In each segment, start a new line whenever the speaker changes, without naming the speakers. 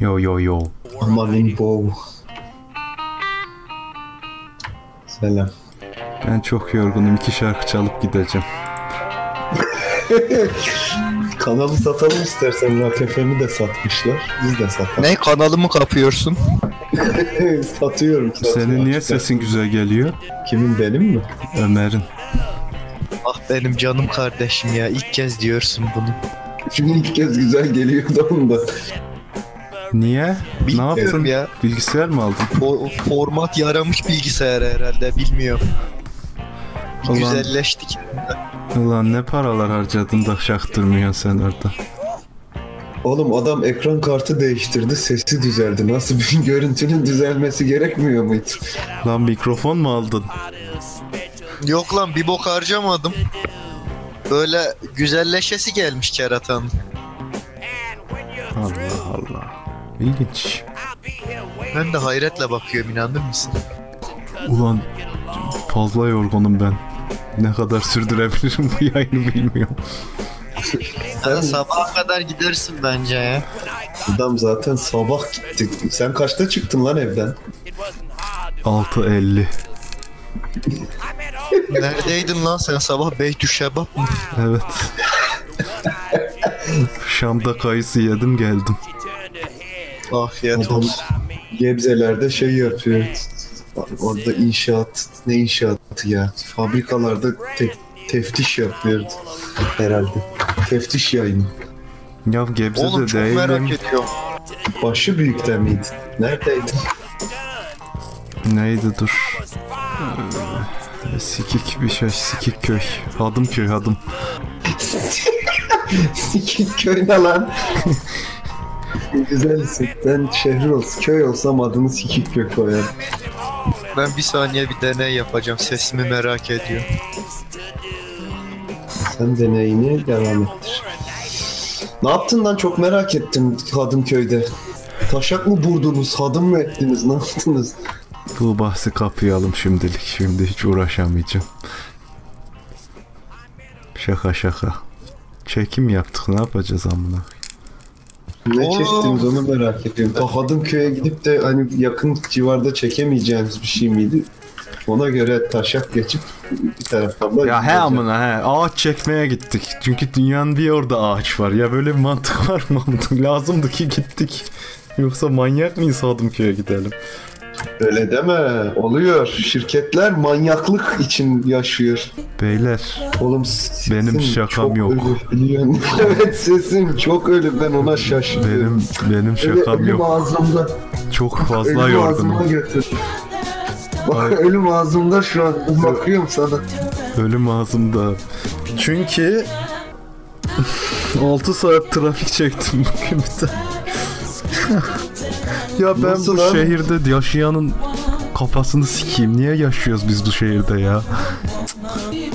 Yo yo yo.
Amavin Bow. Selam.
Ben çok yorgunum. iki şarkı çalıp gideceğim.
Kanalı satalım istersen. Rock FM'i de satmışlar. Biz de satalım.
Ne kanalımı kapıyorsun?
Satıyorum.
Senin niye
Açıkçası.
sesin güzel geliyor?
Kimin benim mi?
Ömer'in.
Ah benim canım kardeşim ya ilk kez diyorsun bunu.
Kimin ilk kez güzel geliyor da onda.
Niye? Ne
Bilmiyorum
yaptın?
ya.
Bilgisayar mı aldın?
O, o format yaramış bilgisayara herhalde bilmiyorum. Bir
Ulan.
Güzelleştik.
Ulan ne paralar harcadın da şaktırmıyorsun sen orada.
Oğlum adam ekran kartı değiştirdi. Sesi düzeldi. Nasıl bir görüntünün düzelmesi gerekmiyor muydu?
Lan mikrofon mu aldın?
Yok lan bir bok harcamadım. Böyle güzelleşesi gelmiş keratan.
Allah Allah. İlginç.
Ben de hayretle bakıyorum inanır mısın?
Ulan fazla yorgunum ben. Ne kadar sürdürebilirim bu yayını bilmiyorum.
Sana
Sen-
sabaha kadar gidersin bence ya.
Adam zaten sabah gitti. Sen kaçta çıktın lan evden?
6.50.
Neredeydin lan sen sabah Beytüşşebap mı?
Evet. Şam'da kayısı yedim geldim.
Afiyet
Adam
olsun.
Gebze'lerde şey yapıyor. Orada inşaat, ne inşaatı ya? Fabrikalarda te- teftiş yapıyordu herhalde. Teftiş yayını.
Ya Gebze'de
Oğlum çok merak
değilim.
ediyorum.
Başı büyükte miydi? Neredeydi?
Neydi dur. Ee, Sikik bir şey, sikik köy. Hadım köy, hadım.
Sikik köy ne lan? Güzel sikten şehir olsun. Köy olsam adını Sikik köy koyarım.
Ben bir saniye bir deney yapacağım. Sesimi merak ediyorum.
Sen deneyini devam ettir. Ne yaptın lan çok merak ettim Hadımköy'de. Taşak mı vurdunuz, hadım mı ettiniz, ne yaptınız?
Bu bahsi kapayalım şimdilik. Şimdi hiç uğraşamayacağım. Şaka şaka. Çekim yaptık ne yapacağız amına?
Ne
Oğlum.
çektiniz onu merak ediyorum. Ta Hadımköy'e gidip de hani yakın civarda çekemeyeceğiniz bir şey miydi? Ona göre taşak geçip bir taraftan da...
Ya he
gideceğim.
amına he. Ağaç çekmeye gittik. Çünkü dünyanın bir orada ağaç var. Ya böyle bir mantık var mı? Lazımdı ki gittik. Yoksa manyak mıyız Hadımköy'e gidelim?
Öyle deme. Oluyor. Şirketler manyaklık için yaşıyor.
Beyler
Oğlum sesin
Benim şakam
çok
yok.
Ölü, biliyorsun. evet sesin çok ölü ben ona şaşırdım.
benim benim şakam
ölüm
yok.
ağzımda.
Çok fazla
Ölüm ağzıma
yorgunum.
götür.
Ay.
Bak ölüm ağzımda şu an bakıyorum sana.
Ölüm ağzımda. Çünkü 6 saat trafik çektim bugün bir de. ya ben
Nasıl
bu
lan?
şehirde yaşayanın kafasını sikeyim. Niye yaşıyoruz biz bu şehirde ya?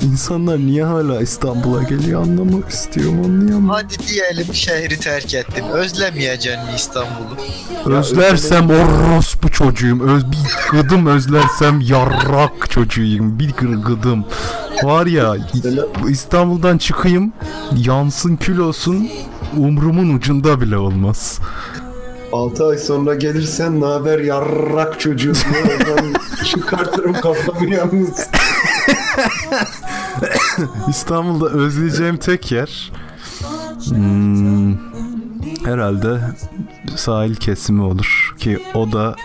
İnsanlar niye hala İstanbul'a geliyor anlamak istiyorum anlayamam.
Hadi diyelim şehri terk ettin. Özlemeyeceksin mi İstanbul'u?
Özlersem orospu çocuğum. Öz, bir gıdım özlersem yarrak çocuğuyum. Bir gır- gıdım. Var ya İ- İstanbul'dan çıkayım yansın kül olsun umrumun ucunda bile olmaz.
6 ay sonra gelirsen ne haber yarrak çocuğum. Oradan çıkartırım kafamı yalnız.
İstanbul'da özleyeceğim tek yer hmm, herhalde sahil kesimi olur ki o da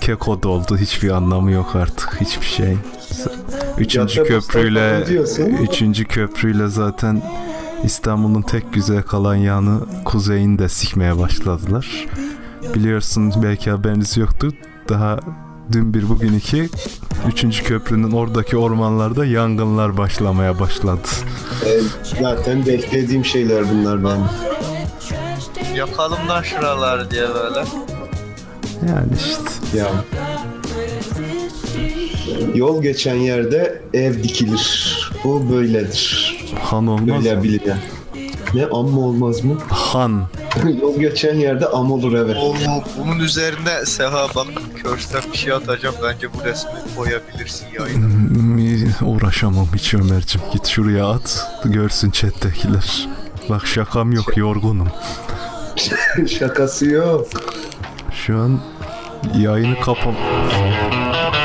keko doldu. Hiçbir anlamı yok artık. Hiçbir şey. Üçüncü
Cadde
köprüyle
Bostan'dan diyorsun ama-
üçüncü köprüyle zaten İstanbul'un tek güzel kalan yanı kuzeyini de sikmeye başladılar. Biliyorsun belki haberiniz yoktur. Daha dün bir bugün iki üçüncü köprünün oradaki ormanlarda yangınlar başlamaya başladı.
Ee, zaten beklediğim şeyler bunlar ben.
Yakalım lan şuralar diye böyle.
Yani işte
Ya. Yol geçen yerde ev dikilir. Bu böyledir.
han olmaz
Böyle
mı?
bilinen. Ne amma olmaz mı?
Han.
Yol geçen yerde am olur evet.
Oo, bunun üzerine Seha bak körsten bir şey atacağım. Bence bu resmi koyabilirsin yayına.
Hmm, Uğraşamam hiç Ömer'cim. Git şuraya at. Görsün chat'tekiler. Bak şakam yok yorgunum.
Şakası yok.
Şu an yayını kapam.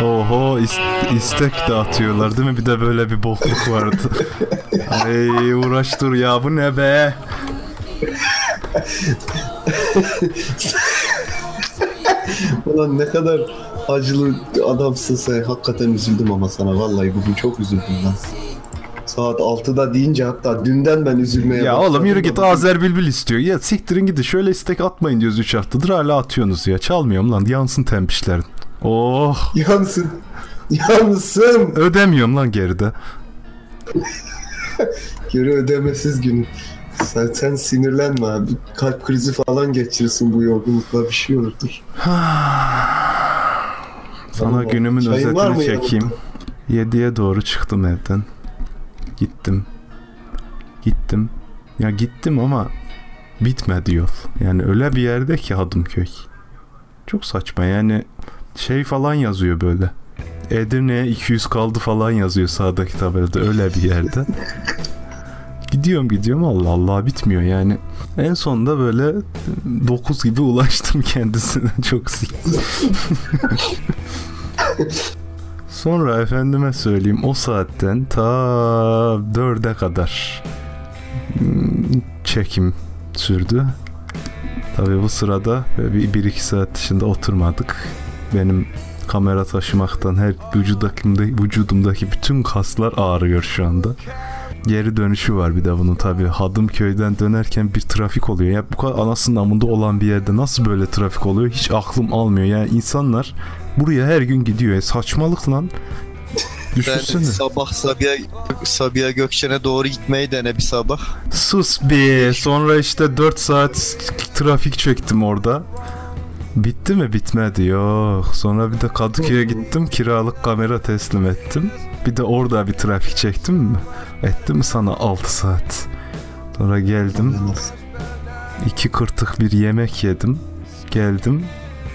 Oho is- istek dağıtıyorlar değil mi? Bir de böyle bir bokluk vardı. Ay uğraş dur ya bu ne be?
Ulan ne kadar acılı adamsın sen. Hakikaten üzüldüm ama sana. Vallahi bugün çok üzüldüm lan. Saat 6'da deyince hatta dünden ben üzülmeye
Ya
başladım.
oğlum yürü git Azer Bülbül istiyor. Ya siktirin gidin şöyle istek atmayın diyoruz 3 haftadır hala atıyorsunuz ya. Çalmıyorum lan yansın tembişlerin. Oh
Yansın. Yansın.
ödemiyorum lan geride.
Geri ödemesiz günü. Sen, sen sinirlenme abi. Kalp krizi falan geçirirsin bu yorgunlukla bir şey olurdur.
Sana
Vallahi.
günümün
Çayın var mı
özetini
yanında?
çekeyim. 7'ye doğru çıktım evden. Gittim. Gittim. Ya gittim ama bitmedi yol. Yani öyle bir yerde ki Hadımköy. Çok saçma yani şey falan yazıyor böyle. Edirne'ye 200 kaldı falan yazıyor sağdaki tabelada öyle bir yerde. gidiyorum gidiyorum Allah Allah bitmiyor yani. En sonunda böyle 9 gibi ulaştım kendisine çok sik. Sonra efendime söyleyeyim o saatten ta 4'e kadar hmm, çekim sürdü. Tabii bu sırada böyle bir, bir iki saat dışında oturmadık. Benim kamera taşımaktan her vücudumdaki, vücudumdaki bütün kaslar ağrıyor şu anda. Geri dönüşü var bir de bunun tabii. Hadımköy'den dönerken bir trafik oluyor. Ya bu kadar anasının amında olan bir yerde nasıl böyle trafik oluyor hiç aklım almıyor. Yani insanlar buraya her gün gidiyor. E saçmalık lan.
Ben
Düşünsene.
sabah Sabiha, Sabiha Gökçen'e doğru gitmeyi dene bir sabah.
Sus be. Sonra işte 4 saat trafik çektim orada. Bitti mi? Bitmedi. Yok. Sonra bir de Kadıköy'e gittim. Kiralık kamera teslim ettim. Bir de orada bir trafik çektim mi? Etti mi sana 6 saat? Sonra geldim. İki kırtık bir yemek yedim. Geldim.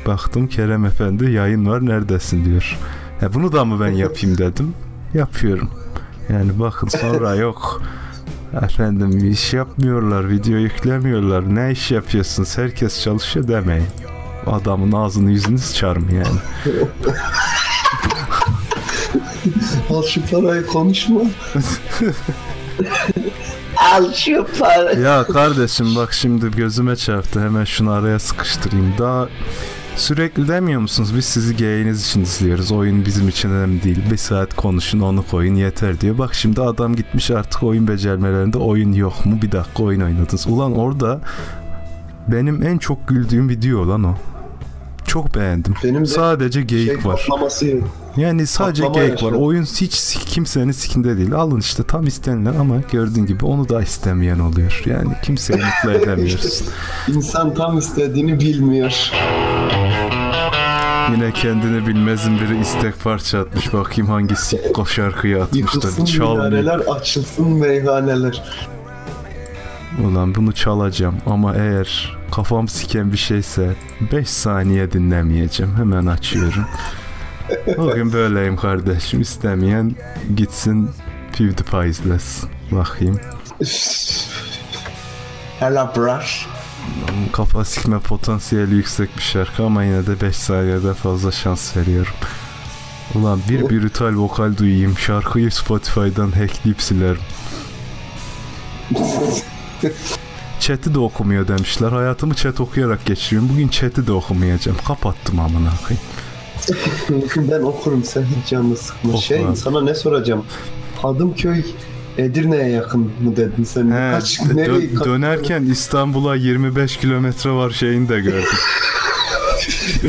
Baktım Kerem Efendi yayın var neredesin diyor. E bunu da mı ben yapayım dedim. Yapıyorum. Yani bakın sonra yok. Efendim bir iş yapmıyorlar, video yüklemiyorlar. Ne iş yapıyorsunuz? Herkes çalışıyor demeyin. Adamın ağzını yüzünü sıçarım yani.
Al şu parayı konuşma.
Ya kardeşim bak şimdi gözüme çarptı. Hemen şunu araya sıkıştırayım. Daha sürekli demiyor musunuz? Biz sizi geyiniz için izliyoruz. Oyun bizim için önemli değil. Bir saat konuşun onu koyun yeter diyor. Bak şimdi adam gitmiş artık oyun becermelerinde oyun yok mu? Bir dakika oyun oynadınız. Ulan orada benim en çok güldüğüm video olan o. Çok beğendim.
Benim de
Sadece
Şey
geyik var.
patlaması yok.
Yani sadece
Patlama
geyik var.
yaşadı.
Oyun hiç sik- kimsenin sikinde değil. Alın işte tam istenilen ama gördüğün gibi onu da istemeyen oluyor. Yani kimseyi mutlu edemiyoruz.
İnsan tam istediğini bilmiyor.
Yine kendini bilmezin biri istek parça atmış. Bakayım hangi sikko şarkıyı atmıştır.
Yıkılsın
Çalmıyor.
minareler, açılsın meyhaneler.
Ulan bunu çalacağım ama eğer kafam siken bir şeyse 5 saniye dinlemeyeceğim. Hemen açıyorum. Bugün böyleyim kardeşim. İstemeyen gitsin PewDiePie izlesin. Bakayım.
Hela braş.
kafa sikme potansiyeli yüksek bir şarkı ama yine de 5 saniyede fazla şans veriyorum. Ulan bir brutal vokal duyayım şarkıyı Spotify'dan hackleyip silerim. Chat'i de okumuyor demişler. Hayatımı chat okuyarak geçiriyorum. Bugün chat'i de okumayacağım. Kapattım amına koyayım.
ben okurum sen hiç canını sıkma.
Oku
şey
abi.
sana ne soracağım? Hadımköy Edirne'ye yakın mı dedin sen?
He,
Kaç,
dö-
nereye kaç-
dönerken İstanbul'a 25 kilometre var şeyini de gördüm.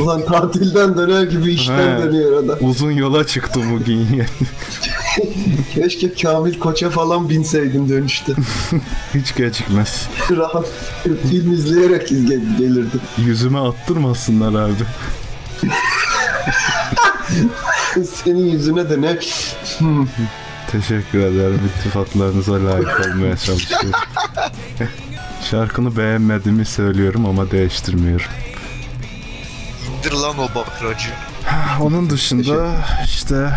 Ulan tatilden döner gibi işten
He.
dönüyor adam.
Uzun yola çıktım bugün.
Keşke Kamil Koç'a falan binseydim dönüşte.
Hiç gecikmez.
Rahat film izleyerek izle- gelirdim.
Yüzüme attırmasınlar abi.
Senin yüzüne de ne? Hmm.
Teşekkür ederim. İltifatlarınıza layık olmaya çalışıyorum. Şarkını beğenmediğimi söylüyorum ama değiştirmiyorum.
İndir lan o bakracı.
Onun dışında işte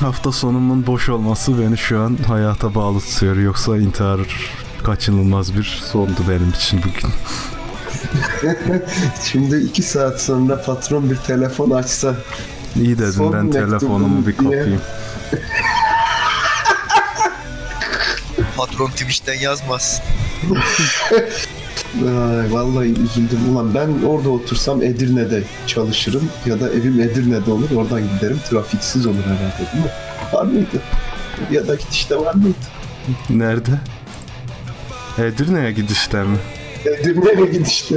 hafta sonumun boş olması beni şu an hayata bağlı tutuyor. Yoksa intihar kaçınılmaz bir sondu benim için bugün.
Şimdi iki saat sonra patron bir telefon açsa
İyi dedin
Son
ben telefonumu
mektubum
bir
diye.
kopyayım.
Patron Twitch'ten yazmaz.
Ay, vallahi üzüldüm. Ulan ben orada otursam Edirne'de çalışırım ya da evim Edirne'de olur oradan giderim trafiksiz olur herhalde değil mi? Var mıydı? Ya da gidişte var mıydı?
Nerede? Edirne'ye gidişte mi?
Edirne'ye gidişte.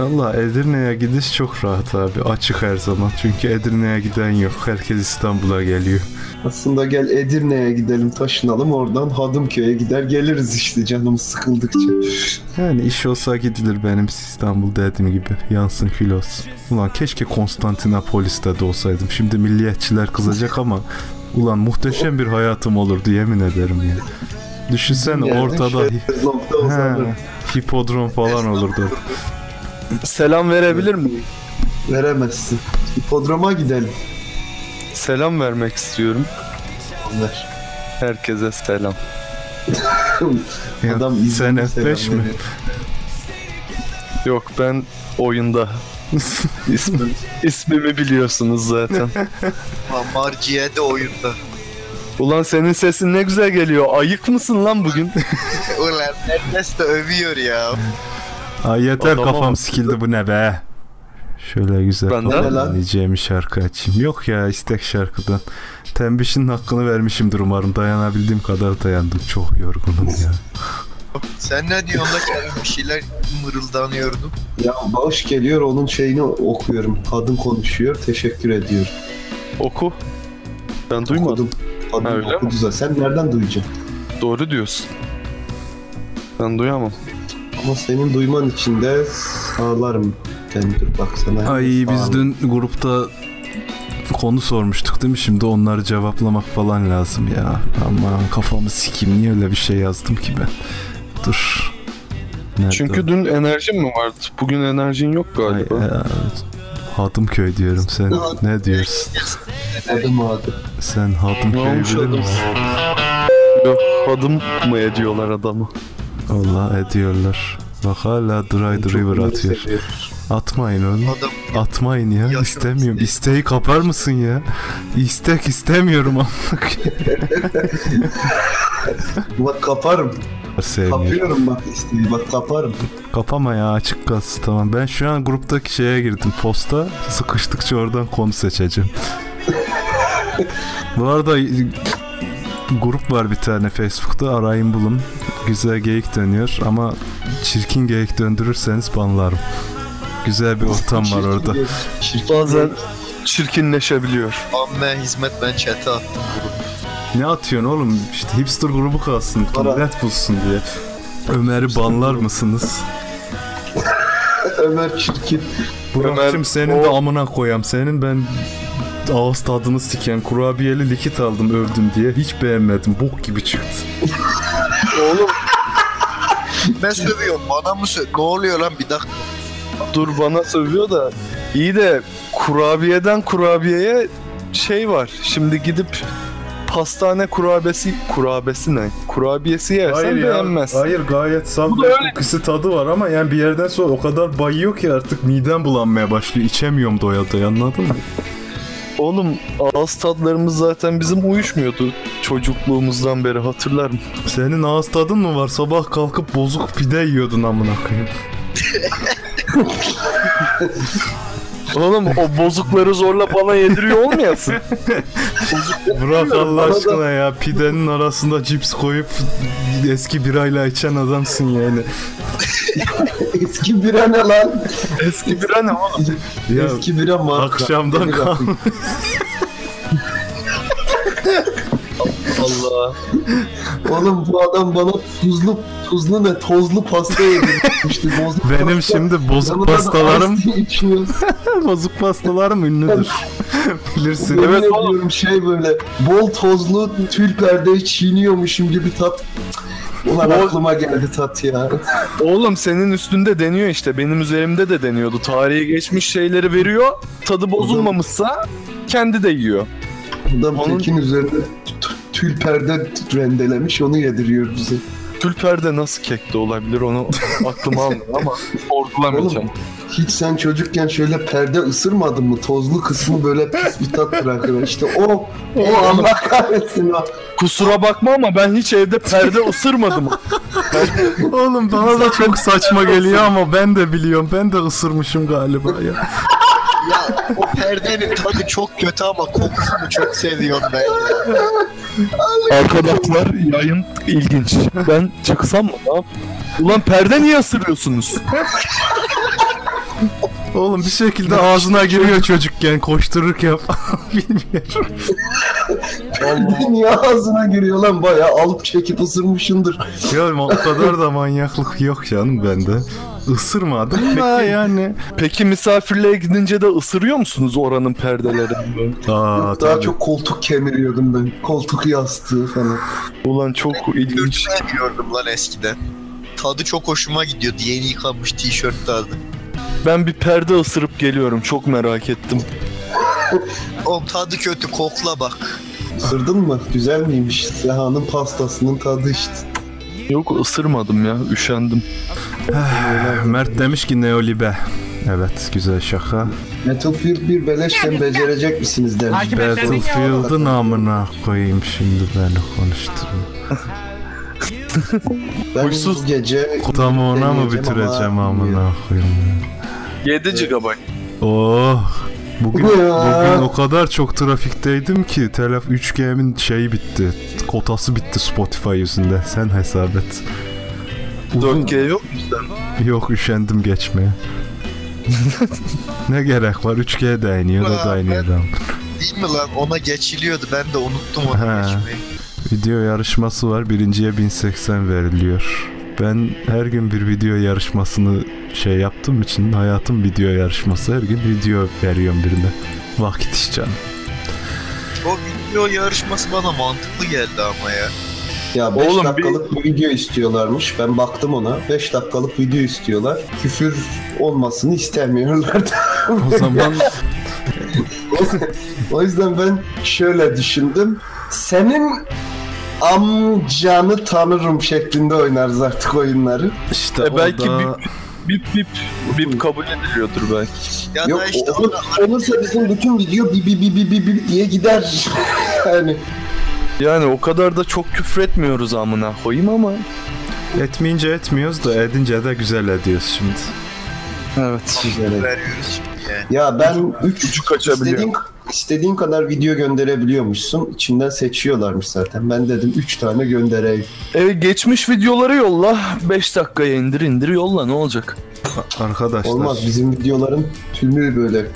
Allah Edirne'ye gidiş çok rahat abi. Açık her zaman. Çünkü Edirne'ye giden yok. Herkes İstanbul'a geliyor.
Aslında gel Edirne'ye gidelim taşınalım oradan Hadımköy'e gider geliriz işte canımız sıkıldıkça.
Yani iş olsa gidilir benim İstanbul dediğim gibi. Yansın kül olsun. Ulan keşke Konstantinopolis'te de olsaydım. Şimdi milliyetçiler kızacak ama ulan muhteşem bir hayatım olurdu yemin ederim ya. Düşünsene
Yani
ortada hi-
şöyle bir nokta uzanır.
he, hipodrom falan olurdu.
Selam verebilir miyim?
Veremezsin. Hipodroma gidelim.
Selam vermek istiyorum.
Ver.
Herkese selam.
Ya,
Adam izin
sen F5
selam
mi?
veriyor.
Yok ben oyunda. İsmim, ismimi biliyorsunuz zaten.
Ulan Marciye de oyunda.
Ulan senin sesin ne güzel geliyor. Ayık mısın lan bugün?
Ulan Ernest de övüyor ya.
Ay yeter
Adama
kafam
bak.
sikildi bu ne be. Şöyle güzel
Ben de-
kafadan
Lan.
dinleyeceğim şarkı açayım. Yok ya istek şarkıdan. Tembiş'in hakkını vermişimdir umarım. Dayanabildiğim kadar dayandım. Çok yorgunum ya.
Sen ne diyorsun da Kerem bir şeyler mırıldanıyordun.
Ya bağış geliyor onun şeyini okuyorum. Kadın konuşuyor teşekkür ediyor.
Oku. Ben duymadım.
Okudum. Kadın
Ha, öyle
okudu
mi?
zaten. Sen nereden duyacaksın?
Doğru diyorsun. Ben duyamam.
Ama senin duyman için de sağlarım. Yani dur bak sana.
Ay biz dün grupta konu sormuştuk değil mi? Şimdi onları cevaplamak falan lazım ya. Aman kafamı sikeyim. Niye öyle bir şey yazdım ki ben? Dur. Nerede o?
Çünkü dün enerjin mi vardı? Bugün enerjin yok
Ay,
galiba.
e, Hadımköy diyorum sen. Ne diyorsun?
Adım adım.
Sen
ne
Hadımköy
şey
olmuş
bilir
adam?
misin?
Yok adım mı ediyorlar adamı?
Allah ediyorlar. Bak hala Dry the River atıyor. Atmayın onu.
Adam
Atmayın ya.
Yaşam
İstemiyorum.
isteği.
İsteği kapar mısın ya? İstek istemiyorum amına koyayım.
Bak kaparım.
Sevmiyorum.
Kapıyorum bak isteği. Bak kaparım.
Kapama ya açık kalsın tamam. Ben şu an gruptaki şeye girdim posta. Sıkıştıkça oradan konu seçeceğim. Bu arada y- grup var bir tane Facebook'ta arayın bulun. Güzel geyik dönüyor ama çirkin geyik döndürürseniz banlarım. Güzel bir ortam var
Çirkin
orada.
bir- Çirkin
Bazen çirkinleşebiliyor.
amme hizmet ben chat'e attım.
Ne atıyorsun oğlum? İşte hipster grubu kalsın.
Ara.
Millet bulsun diye. Ömer'i banlar mısınız?
Ömer çirkin.
Burak'cım
Ömer,
senin
o-
de amına koyam. Senin ben ağız tadını siken kurabiyeli likit aldım övdüm diye. Hiç beğenmedim. Bok gibi çıktı.
Oğlum
Ben sövüyorum. Bana mı sö- Ne oluyor lan bir dakika.
dur bana sövüyor da iyi de kurabiyeden kurabiyeye şey var. Şimdi gidip pastane kurabesi kurabesi ne? Kurabiyesi yersen beğenmezsin.
Hayır gayet saf ve kokusu tadı var ama yani bir yerden sonra o kadar bayıyor ki artık midem bulanmaya başlıyor. İçemiyorum doya doya anladın mı?
Oğlum ağız tadlarımız zaten bizim uyuşmuyordu çocukluğumuzdan beri hatırlar mısın?
Senin ağız tadın mı var? Sabah kalkıp bozuk pide yiyordun amına koyayım.
Oğlum o bozukları zorla bana yediriyor olmayasın.
Bırak Allah aşkına ya pidenin arasında cips koyup eski birayla içen adamsın yani.
Eski bira ne lan?
Eski bira ne oğlum?
Ya,
Eski bira marka.
akşamdan
Beni
kalmış.
Allah.
Oğlum bu adam bana tuzlu tuzlu ne tozlu pasta yedirmişti. Bozlu
Benim
pasta.
şimdi
Yanında
bozuk
da
pastalarım,
ice tea içiyor.
bozuk pastalarım ünlüdür. Bilirsin.
Yemin
Evet oğlum.
ediyorum şey böyle bol tozlu tül perde çiğniyormuşum gibi tat. Ulan
Bol-
aklıma geldi tat ya.
Oğlum senin üstünde deniyor işte. Benim üzerimde de deniyordu. Tarihi geçmiş şeyleri veriyor. Tadı bozulmamışsa kendi de yiyor.
Adam
Onun-
tekin üzerine t- tül perde rendelemiş onu yediriyor bize.
Gülper'de nasıl kekte olabilir onu aklıma almıyor ama sorgulamayacağım.
Hiç sen çocukken şöyle perde ısırmadın mı? Tozlu kısmı böyle pis bir tat bırakıyor. İşte o, o Allah kahretsin ha.
Kusura bakma ama ben hiç evde perde ısırmadım.
Oğlum bana da çok saçma geliyor ama ben de biliyorum. Ben de ısırmışım galiba ya.
Ya o perdenin tadı çok kötü ama kokusunu çok seviyorum ben. ya.
Arkadaşlar yayın ilginç. Ben çıksam mı? Ne yap- Ulan perde niye ısırıyorsunuz?
Oğlum bir şekilde ağzına
şey-
giriyor çocukken koştururken falan bilmiyorum.
Perde niye ağzına giriyor lan? Bayağı alıp çekip ısırmışındır.
Ya o kadar da manyaklık yok canım bende. Isırmadım da yani.
Peki misafirliğe gidince de ısırıyor musunuz oranın perdelerini?
Aa
Daha
tabii.
çok koltuk kemiriyordum ben. Koltuk yastığı falan.
Ulan çok ilginç.
Tişört giyiyordum lan eskiden. Tadı çok hoşuma gidiyordu. Yeni yıkanmış tişört tadı.
Ben bir perde ısırıp geliyorum. Çok merak ettim.
Oğlum tadı kötü kokla bak.
Isırdın mı? Güzel miymiş? Seha'nın pastasının tadı işte.
Yok ısırmadım ya. Üşendim.
Mert demiş ki Neolibe. Evet güzel şaka.
Battlefield 1 beleşken becerecek misiniz demiş.
Takip etmedin ya oğlum.
Battlefield'ın amına koyayım şimdi beni konuşturun.
Ben
Huysuz.
bu gece...
Tam ona mı
Deneyeceğim
bitireceğim
ama-
amına koyayım.
7 GB.
Oh. Bugün,
Ya.
bugün o kadar çok trafikteydim ki telef 3G'min şeyi bitti. Kotası bitti Spotify yüzünden. Sen hesap et. Uzun-
4G yok mu sen?
Yok üşendim geçmeye. ne gerek var 3G de iniyor da da iniyor da.
Değil mi lan? Ona geçiliyordu. Ben de unuttum onu
Ha.
geçmeyi.
Video yarışması var. Birinciye 1080 veriliyor. Ben her gün bir video yarışmasını şey yaptığım için hayatım video yarışması. Her gün video veriyorum birine. Vakit iş canım.
O video yarışması bana mantıklı geldi ama ya.
Ya 5
Oğlum
dakikalık bir... video istiyorlarmış. Ben baktım ona. 5 dakikalık video istiyorlar. Küfür olmasını istemiyorlar.
O zaman
o yüzden ben şöyle düşündüm. Senin amcanı tanırım şeklinde oynarız artık oyunları.
işte
E belki
orada-
bir- Bip bip. Bip kabul ediliyordur belki.
Ya
Yok
da işte
olur- olursa bizim bütün video bi bi bi bi bi bi diye gider. yani
Yani o kadar da çok küfretmiyoruz amına koyayım ama.
etmeyince etmiyoruz da edince de güzel ediyoruz şimdi.
Evet.
veriyoruz şimdi yani.
Ya ben 3
Ucu kaçabiliyor.
istediğin, istediğin kadar video gönderebiliyormuşsun. İçinden seçiyorlarmış zaten. Ben dedim 3 tane göndereyim.
E, geçmiş videoları yolla. 5 dakikaya indir indir yolla ne olacak?
Arkadaşlar.
Olmaz bizim videoların tümü böyle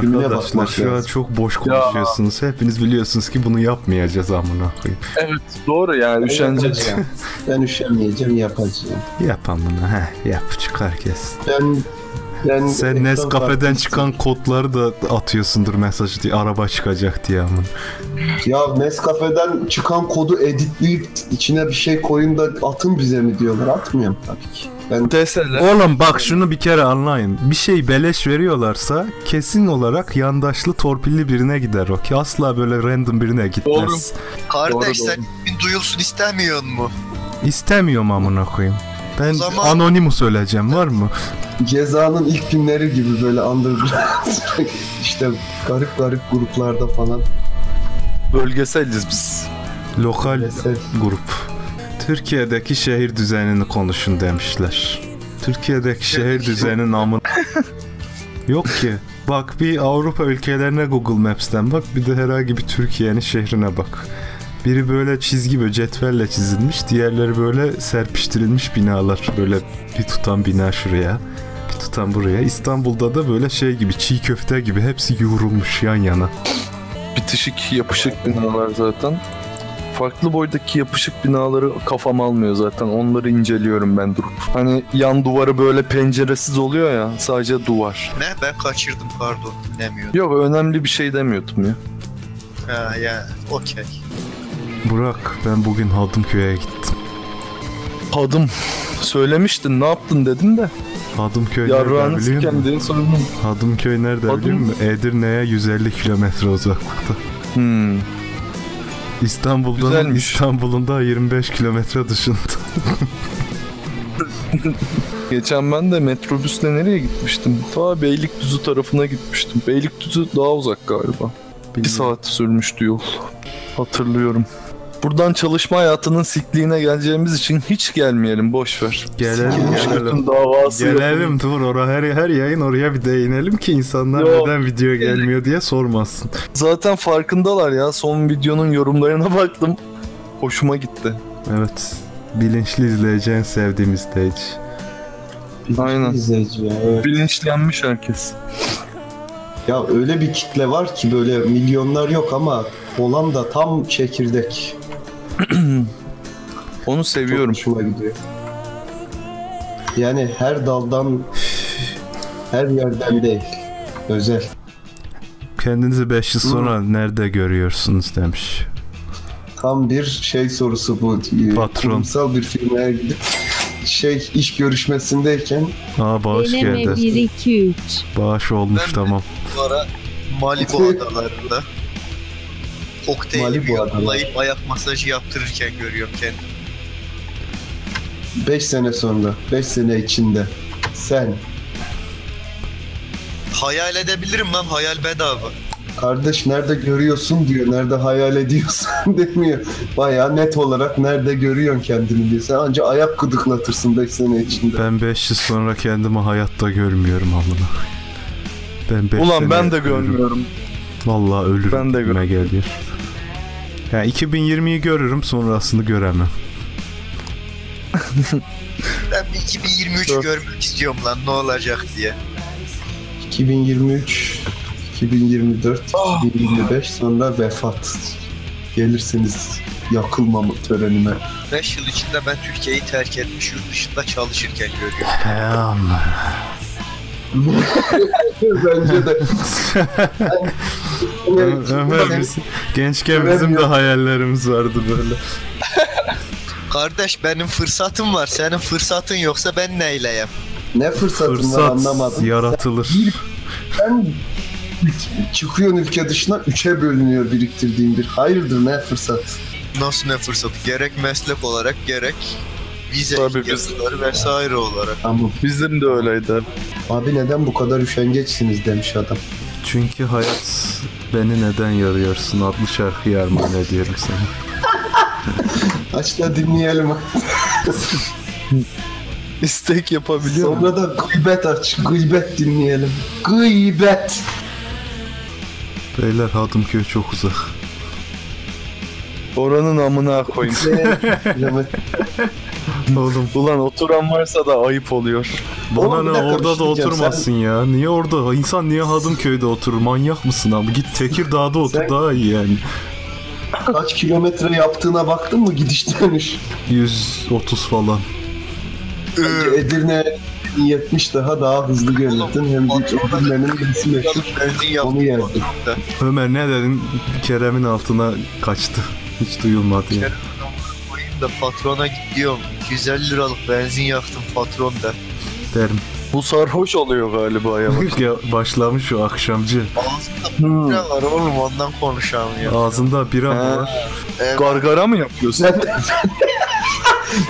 tümüne
Arkadaşlar
bakmak
şu an
lazım.
çok boş konuşuyorsunuz. Hepiniz biliyorsunuz ki bunu yapmayacağız amına koyayım.
Evet doğru yani üşeneceğiz.
Yapacağım. Ben üşenmeyeceğim yapacağım.
Yap amına he. Yap çıkar kes.
Ben ben
Sen Nescafe'den çıkan kodları da atıyorsundur mesaj diye araba çıkacak diye amına.
Ya Nescafe'den çıkan kodu editleyip içine bir şey koyun da atın bize mi diyorlar. Atmıyorum tabii ki. Ben
DSL.
Oğlum bak şunu bir kere anlayın. Bir şey beleş veriyorlarsa kesin olarak yandaşlı torpilli birine gider o ki asla böyle random birine gitmez.
Doğru.
Kardeş
doğru.
sen ismin duyulsun istemiyor mu?
İstemiyorum amına koyayım. Ben
O zaman-
anonim söyleyeceğim var mı?
cezanın ilk günleri gibi böyle underground işte garip garip gruplarda falan.
Bölgeseliz biz.
Lokal
Mesela
grup. Türkiye'deki şehir düzenini konuşun demişler. Türkiye'deki şehir düzeninin amın yok ki. Bak bir Avrupa ülkelerine Google Maps'ten bak bir de herhangi bir Türkiye'nin şehrine bak. Biri böyle çizgi böyle cetvelle çizilmiş, diğerleri böyle serpiştirilmiş binalar. Böyle bir tutan bina şuraya, bir tutan buraya. İstanbul'da da böyle şey gibi çiğ köfte gibi hepsi yuvrulmuş yan yana.
Bitişik yapışık binalar zaten. Farklı boydaki yapışık binaları kafam almıyor zaten. Onları inceliyorum ben durup. Hani yan duvarı böyle penceresiz oluyor ya. Sadece duvar.
Ne ben kaçırdım pardon dinlemiyordum.
Yok önemli bir şey demiyordum ya.
Ha ya okey.
Burak ben bugün Hadımköy'e gittim.
Hadım. Söylemiştin ne yaptın dedim de.
Hadımköy nerede
Yarrağını
biliyor musun?
siken diye sordum.
Hadımköy nerede biliyor
Hadımköy.
Hmm. musun? Edirne'ye 150 kilometre uzaklıkta.
Hmm.
İstanbul'dan
Güzelmiş.
İstanbul'un da 25 kilometre dışında.
Geçen ben de metrobüsle nereye gitmiştim? Ta Beylikdüzü tarafına gitmiştim. Beylikdüzü daha uzak galiba. Bir saat sürmüştü yol. Hatırlıyorum. Buradan çalışma hayatının sikliğine geleceğimiz için hiç gelmeyelim boş ver.
Gelelim
Sikilmiş
gelelim.
götün davası yapalım.
Gelelim dur oraya her, her yayın oraya bir değinelim ki insanlar
Yok.
neden video gelmiyor diye sormasın.
Zaten farkındalar ya son videonun yorumlarına baktım. Hoşuma gitti.
Evet. Bilinçli izleyeceğin sevdiğim izleyici.
Aynen.
İzleyici ya. evet.
Bilinçlenmiş herkes.
Ya öyle bir kitle var ki böyle milyonlar yok ama olan da tam çekirdek.
Onu
Çok
seviyorum.
hoşuma gidiyor. Yani her daldan, her yerden değil. Özel.
Kendinizi 5 yıl sonra nerede görüyorsunuz demiş.
Tam bir şey sorusu bu.
Patron.
Kurumsal bir firmaya gidip şey iş görüşmesindeyken
Aa bağış
Deneme
geldi.
1 2 3.
Bağış olmuş
Ben-
tamam.
Bunlara Malibu adalarında kokteyli
Malibu
bir
adaları.
yakalayıp ayak masajı yaptırırken görüyorum kendimi.
5 sene sonra, 5 sene içinde sen
Hayal edebilirim lan hayal bedava.
kardeş nerede görüyorsun diyor, nerede hayal ediyorsun demiyor. Bayağı net olarak nerede görüyorsun kendini diyor. Sen anca ayak gıdıklatırsın 5 sene içinde.
Ben 5 yıl sonra kendimi hayatta görmüyorum amına. Ben beş
Ulan
sene
ben de
ölürüm.
görmüyorum.
Vallahi ölürüm.
Ben de
gibime geliyor. Yani 2020'yi görürüm sonrasını göremem.
Ben bir 2023
Dur.
görmek istiyorum lan ne olacak diye.
2023, 2024, 2025 sonra vefat. Gelirseniz yakılmama törenime.
5 yıl içinde ben Türkiye'yi terk etmiş yurt dışında çalışırken görüyorum.
He ama.
Bence de.
Ömer biz, gençken bizim de
Göremiyorum.
hayallerimiz vardı böyle.
Kardeş benim fırsatım var. Senin fırsatın yoksa ben neyleyim?
ne fırsatından
Fırsat
anlamadım.
yaratılır.
Sen çıkıyorsun ülke dışına üçe bölünüyor biriktirdiğin bir. Hayırdır ne fırsat?
Nasıl ne fırsatı? Gerek meslek olarak gerek vize
Tabii biz-
yazıları vesaire olarak.
Tamam.
Bizim de öyleydi.
Abi neden bu kadar üşengeçsiniz demiş adam.
Çünkü hayat beni neden yarıyorsun adlı şarkıyı armağan ediyorum sana.
Aç da dinleyelim.
İstek yapabiliyor mu?
Sonra da gıybet aç. Gıybet dinleyelim. Gıybet.
Beyler Hadımköy çok uzak.
Oranın amına koyayım.
Kilometre-
Oğlum
Ulan oturan varsa da ayıp oluyor.
bana
Oğlum, bir
ne
dakika, bir
orada da
şey diyeceğim.
oturmasın ya. Niye orada? İnsan niye Hadımköy'de oturur? Manyak mısın abi? Git Tekirdağ'da otur
Sen-
daha iyi yani.
Kaç kilometre yaptığına baktın mı gidiş dönüş?
130 falan.
Bence Edirne 70 daha daha hızlı gelirdin. Hem de Edirne'nin birisi meşhur.
Ee, Benzin yaptım. Ee,
Onu yerdim.
Ömer ne dedin? Kerem'in altına kaçtı. Hiç duyulmadı ya.
Kerem- Koyayım da patrona gidiyorum. 250 liralık benzin yaktım patron da.
Derim.
Bu sarhoş oluyor galiba ya.
Ya başlamış o akşamcı.
Ağzımda bira var oğlum ondan konuşamıyorum.
Ağzında bira mı
Ha.
var?
Evet.
Gargara mı yapıyorsun?
Ben de,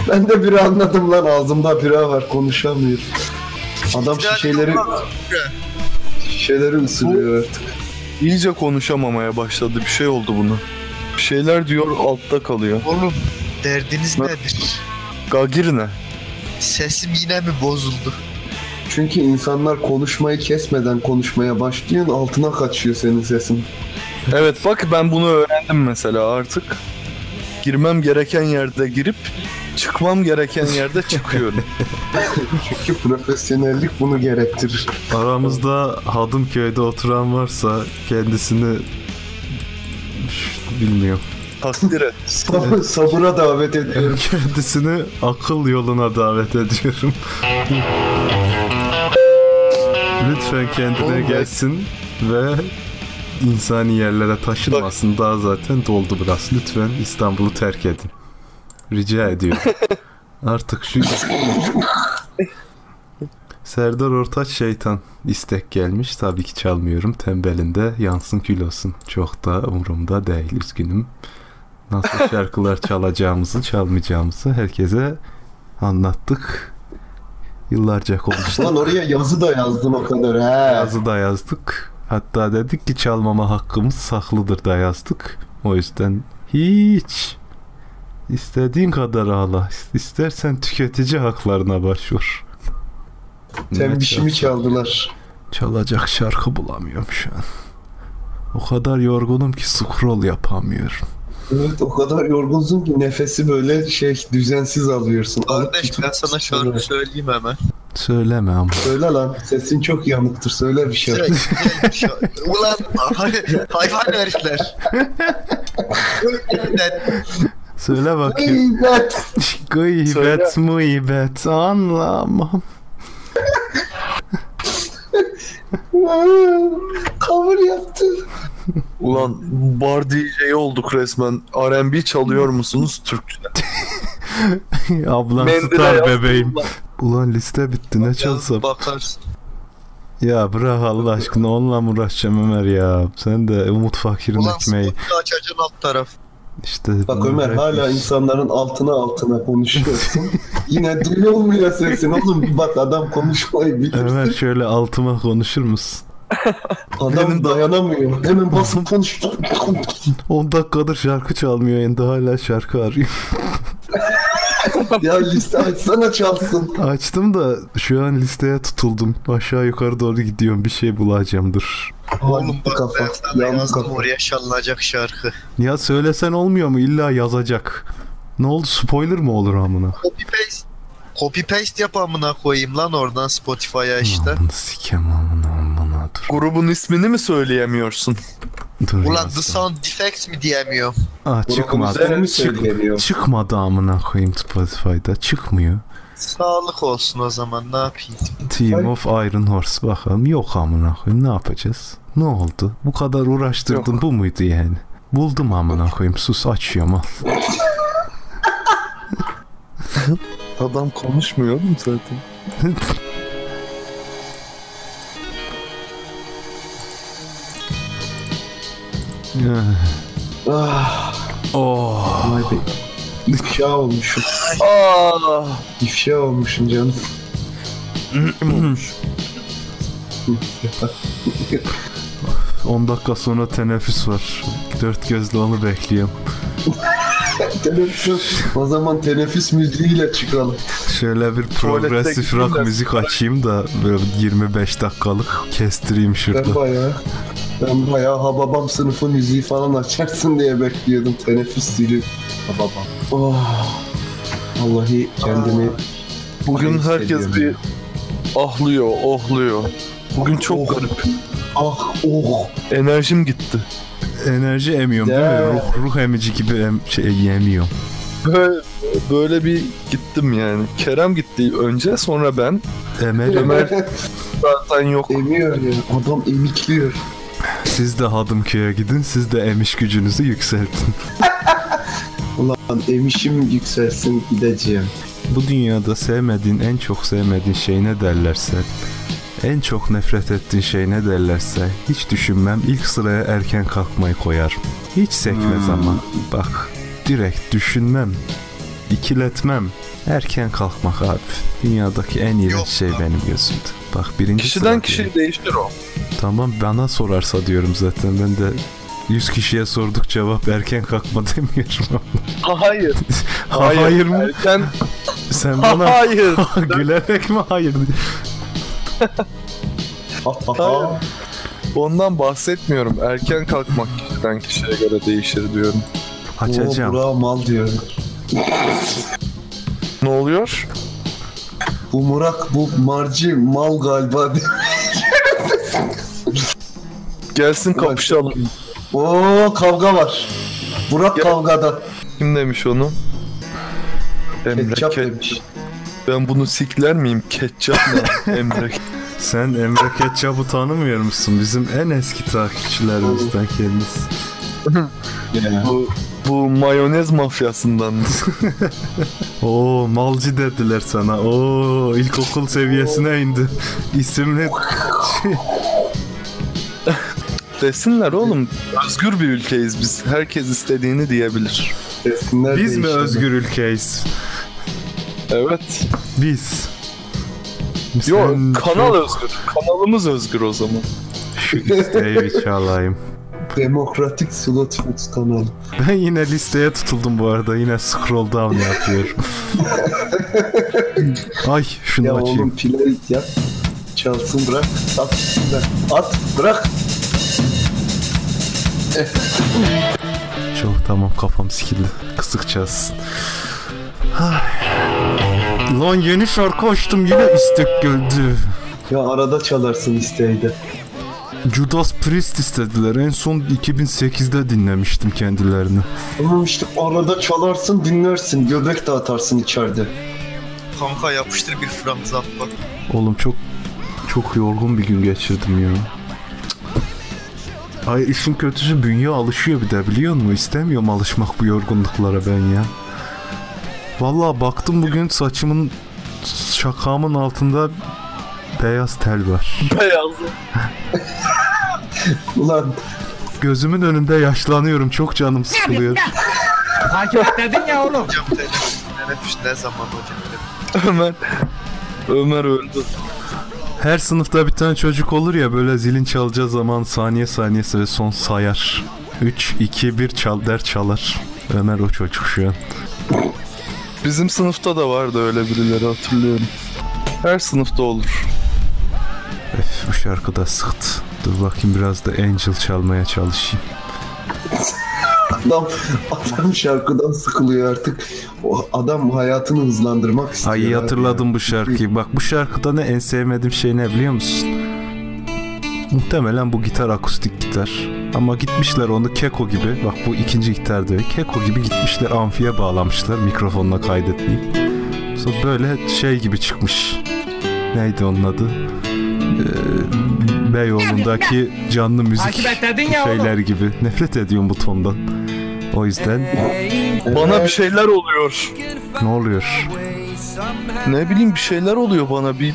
ben de biri anladım lan ağzımda bira var konuşamıyorum. Adam şişeleri şişeleri ısırıyor artık.
İyice konuşamamaya başladı. Bir şey oldu buna. Bir şeyler diyor altta kalıyor.
Oğlum derdiniz
Ben-
nedir?
Gagir ne?
Sesim yine mi bozuldu?
Çünkü insanlar konuşmayı kesmeden konuşmaya başlıyor altına kaçıyor senin sesin.
Evet bak ben bunu öğrendim mesela artık. Girmem gereken yerde girip çıkmam gereken yerde çıkıyorum.
Çünkü profesyonellik bunu gerektirir.
Aramızda Hadımköy'de oturan varsa kendisini Üf, bilmiyorum.
Takdir et.
Sab- sabıra davet ediyorum.
Kendisini akıl yoluna davet ediyorum. Lütfen kendine
Oğlum,
gelsin ve insani yerlere taşınmasın. Daha zaten doldu biraz. Lütfen İstanbul'u terk edin. Rica ediyorum. Artık şu... Serdar Ortaç şeytan istek gelmiş. Tabii ki çalmıyorum. Tembelinde yansın kül olsun. Çok da umurumda değil. Üzgünüm. nasıl şarkılar çalacağımızı, çalmayacağımızı herkese anlattık. Yıllarca konuştuk.
Lan oraya yazı da yazdın o kadar he.
Yazı da yazdık. Hatta dedik ki çalmama hakkımız saklıdır da yazdık. O yüzden hiç istediğin kadar ağla. İstersen tüketici haklarına başvur.
Tembişimi
Neyse,
çaldılar.
Çalacak şarkı bulamıyorum şu an. O kadar yorgunum ki scroll yapamıyorum.
Evet o kadar yorgunsun ki nefesi böyle şey düzensiz alıyorsun. Alıp
Kardeş
tutup-
ben sana şarkı söyleyeyim hemen.
Söyleme ama.
Söyle lan sesin çok yanıktır söyle bir şey.
Direkt güzel bir şarkı. Ulan hay- hayvan herifler. Ölümden.
Söyle bakayım.
Gıybet.
Gıybet muybet anlamam.
Cover yaptı.
Ulan bar DJ olduk resmen. R&B çalıyor musunuz Türkçe?
Ablan
Mendile
star
yazdım
bebeğim.
ulan.
Ulan liste bitti ne çalsam.
Bakarsın.
Ya bırak Allah aşkına onunla mı uğraşacağım Ömer ya. Sen de Umut Fakir'in
Ulan
ekmeği.
spotu açacaksın alt taraf.
İşte
Bak Ömer hala insanların altına altına konuşuyorsun. Yine duyulmuyor sesin oğlum. Bir Bak adam konuşmayı bilir.
Ömer şöyle altıma konuşur musun?
Adam dayanamıyor. Hemen basıp konuş.
10 dakikadır şarkı çalmıyor yani hala şarkı arıyor.
ya liste açsana çalsın.
Açtım da şu an listeye tutuldum. Aşağı yukarı doğru gidiyorum bir şey bulacağım dur.
Oğlum
bak
kafa.
ben sana
Yalnız
yazdım
kafa.
oraya şallanacak şarkı.
Ya söylesen olmuyor mu illa yazacak. Ne oldu spoiler mı olur amına?
Copy paste. Copy paste yap amına koyayım lan oradan Spotify'a işte.
Amına sikem amına amına dur.
Grubun ismini mi söyleyemiyorsun?
Hmm,
Dur
Ulan
yazdım.
The Sound Defects mi diyemiyor.
Aa, çıkmadı.
üzerine mi
Çık,
söyleniyor?
çıkmadı amına koyayım Spotify'da çıkmıyor.
Sağlık olsun o zaman ne yapayım.
Team of Iron Horse bakalım yok amına koyayım ne yapacağız? Ne oldu? Bu kadar uğraştırdın bu muydu yani? Buldum amına koyayım sus açıyorum al.
Adam konuşmuyor mu zaten?
Eh,
Ah,
oh.
vay be. İfşa olmuşum.
Aa,
İfşa olmuşum canım. İfşa.
10 dakika sonra teneffüs var. Dört gözle onu bekliyorum.
Teneffüs. O zaman teneffüs müziğiyle çıkalım.
Şöyle bir progresif
gittim de-
rock müzik açayım da böyle 25 dakikalık kestireyim
Ben
şurada.
bayağı ben bayağı Hababam sınıfı müziği falan açarsın diye bekliyordum. Teneffüs stili. Hababam. Oh. Vallahi kendimi
bugün
Ne
herkes bir
hissediyorum
ahlıyor, ohluyor. Bugün çok
Oh.
garip.
ah oh
Enerjim gitti.
Enerji emiyorum değil
Ya.
mi? Ruh, ruh emici gibi em, şey, yemiyorum.
Böyle, böyle bir gittim yani. Kerem gitti önce sonra ben.
Emerim.
Ömer- Zaten yok.
emiyor ya. Adam emikliyor.
Siz de Hadımköy'e gidin, siz de emiş gücünüzü yükseltin.
Ulan emişim yükselsin gideceğim.
Bu dünyada sevmediğin, en çok sevmediğin şey ne derlerse, en çok nefret ettiğin şey ne derlerse, hiç düşünmem ilk sıraya erken kalkmayı koyarım. Hiç sekmez
Hmm.
ama. Bak, direkt düşünmem, ikiletmem. Erken kalkmak abi. Dünyadaki en iğrenç
Yok
şey
lan.
benim gözümde. Bak birinci
Kişiden
sırada-
kişiye değişir o.
Tamam bana sorarsa diyorum zaten ben de 100 kişiye sorduk cevap erken kalkma demiyorum.
Ha, hayır.
Ha, hayır, mı?
Erken...
Sen
Ha,
bana
hayır.
gülerek mi hayır diye.
Hayır. Ondan bahsetmiyorum. Erken kalkmak kişiden kişiye göre değişir diyorum.
Açacağım.
Bura mal diyor.
Ne oluyor?
Bu Murak bu marci mal galiba.
Gelsin kapışalım.
Oo kavga var. Burak
Ya-
kavgada.
Kim demiş onu? Emre
Ketçap
Ke-
demiş.
Ben bunu sikler miyim? Ketçapla Emre.
Sen Emre Ketçap'ı tanımıyor musun? Bizim en eski takipçilerimizden kendisi.
Ya.
Bu, bu mayonez mafyasından.
Oo malcı dediler sana. Oo ilkokul seviyesine indi. İsimli
Desinler oğlum. Özgür bir ülkeyiz biz. Herkes istediğini diyebilir.
Resimler
Biz mi
değişti.
özgür ülkeyiz?
Evet.
Biz.
Yo
Sen
kanal
çok
özgür. Kanalımız özgür o zaman.
Şu listeyi bir çalayım.
Demokratik Slot Foods kanalı.
Ben yine listeye tutuldum bu arada. Yine scroll down yapıyorum. Ay şunu
Ya
açayım.
oğlum pile yap. Çalsın bırak. At. bırak, At. Bırak.
Çok tamam kafam sikildi. Kısıkacağız. Ay. Lan yeni şarkı açtım yine istek geldi.
Ya arada çalarsın isteği de.
Judas Priest istediler. En son 2008'de dinlemiştim kendilerini.
Tamam işte arada çalarsın dinlersin. Göbek de atarsın içeride.
Kanka yapıştır bir Frank Zappa.
Oğlum çok çok yorgun bir gün geçirdim ya. Cık. Ay işin kötüsü bünye alışıyor bir de biliyor musun? İstemiyorum alışmak bu yorgunluklara ben ya. Vallahi baktım bugün saçımın şakamın altında beyaz tel var.
Ulan
Gözümün önünde yaşlanıyorum. Çok canım sıkılıyor.
Takipteydin ya oğlum.
Hocam telefon ne zaman hocam?
Ömer. Ömer öldü.
Her sınıfta bir tane çocuk olur ya böyle zilin çalacağı zaman saniye saniyesi ve son sayar. 3, 2, 1 çal der çalar. Ömer o çocuk şu an.
Bizim sınıfta da vardı öyle birileri hatırlıyorum. Her sınıfta olur.
Öf, bu şarkı da sıktı. Dur bakayım biraz da Angel çalmaya çalışayım.
adam, adam şarkıdan sıkılıyor artık. O adam hayatını hızlandırmak istiyor.
Ay iyi
abi
hatırladım bu şarkıyı. Bak bu şarkıda ne en sevmediğim şey ne biliyor musun? Muhtemelen bu gitar akustik gitar. Ama gitmişler onu keko gibi. Bak bu ikinci gitar diyor. Keko gibi gitmişler amfiye bağlamışlar mikrofonla kaydetmeyip. Sonra böyle şey gibi çıkmış. Neydi onun adı? Ee, Beyoğlu'ndaki canlı müzik
Takip et dedin ya oğlum.
şeyler gibi. Nefret ediyorum bu tondan. O yüzden
Ee,
ya.
Bana bir şeyler oluyor.
ne oluyor?
Ne bileyim bir şeyler oluyor bana bir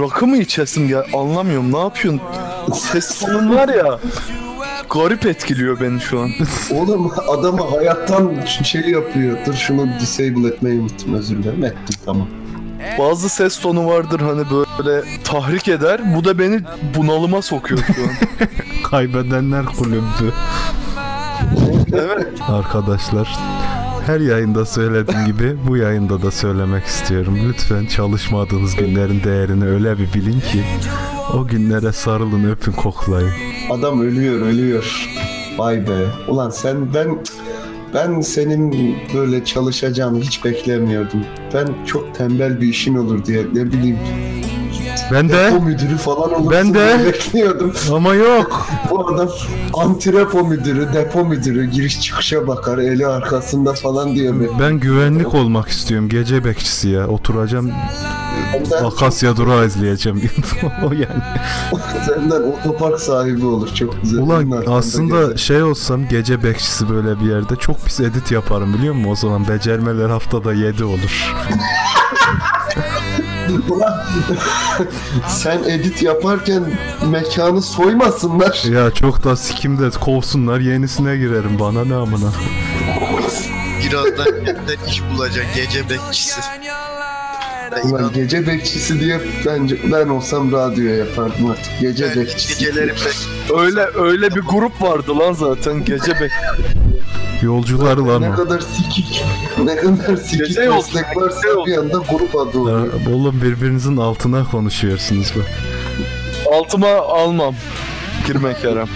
rakı mı içesim ya anlamıyorum ne yapıyorsun? Ses tonun var ya garip etkiliyor beni şu an.
Oğlum adama hayattan şey yapıyor. Dur şunu disable etmeyi unuttum özür dilerim. Ettim tamam.
Bazı ses tonu vardır hani böyle tahrik eder. Bu da beni bunalıma sokuyor şu an.
Kaybedenler kulübü.
Evet.
Arkadaşlar her yayında söylediğim gibi bu yayında da söylemek istiyorum. Lütfen çalışmadığınız günlerin değerini öyle bir bilin ki o günlere sarılın öpün koklayın.
Adam ölüyor ölüyor. Vay be. Ulan sen ben ben senin böyle çalışacağını hiç beklemiyordum. Ben çok tembel bir işin olur diye ne bileyim
Ben
depo
de
müdürü falan olursun
Eh, Ben de.
diye bekliyordum.
ama yok.
Bu adam antrepo müdürü, depo müdürü giriş çıkışa bakar eli arkasında falan diye mi?
Ben güvenlik olmak istiyorum. Gece bekçisi ya. Oturacağım
Senden,
Akasya durağı izleyeceğim. o yani.
senden otopark sahibi olur çok güzel. Bunun
Ulan
arkasında
aslında
gezer.
şey olsam gece bekçisi böyle bir yerde çok pis edit yaparım biliyor musun? O zaman becermeler haftada 7 olur.
Ulan sen edit yaparken mekanı soymasınlar.
Ya çok da sikimde kovsunlar yenisine girerim bana ne amına.
Birazdan kendin iş bulacaksın gece bekçisi. Ben
Ulan
inan-
gece bekçisi diye bence ben olsam radyo yapardım artık. Gece
ben
bekçisi.
gecelerim bek-
Öyle öyle bir grup vardı lan zaten gece bek.
Yolcular lan
Ne
o.
kadar sikik, ne kadar sikik
Gece yolcu,
meslek varsa
gece yolcu.
bir anda grup adı oluyor.
Ya, Oğlum birbirinizin altına konuşuyorsunuz bak.
Altıma almam. Girmek yaram.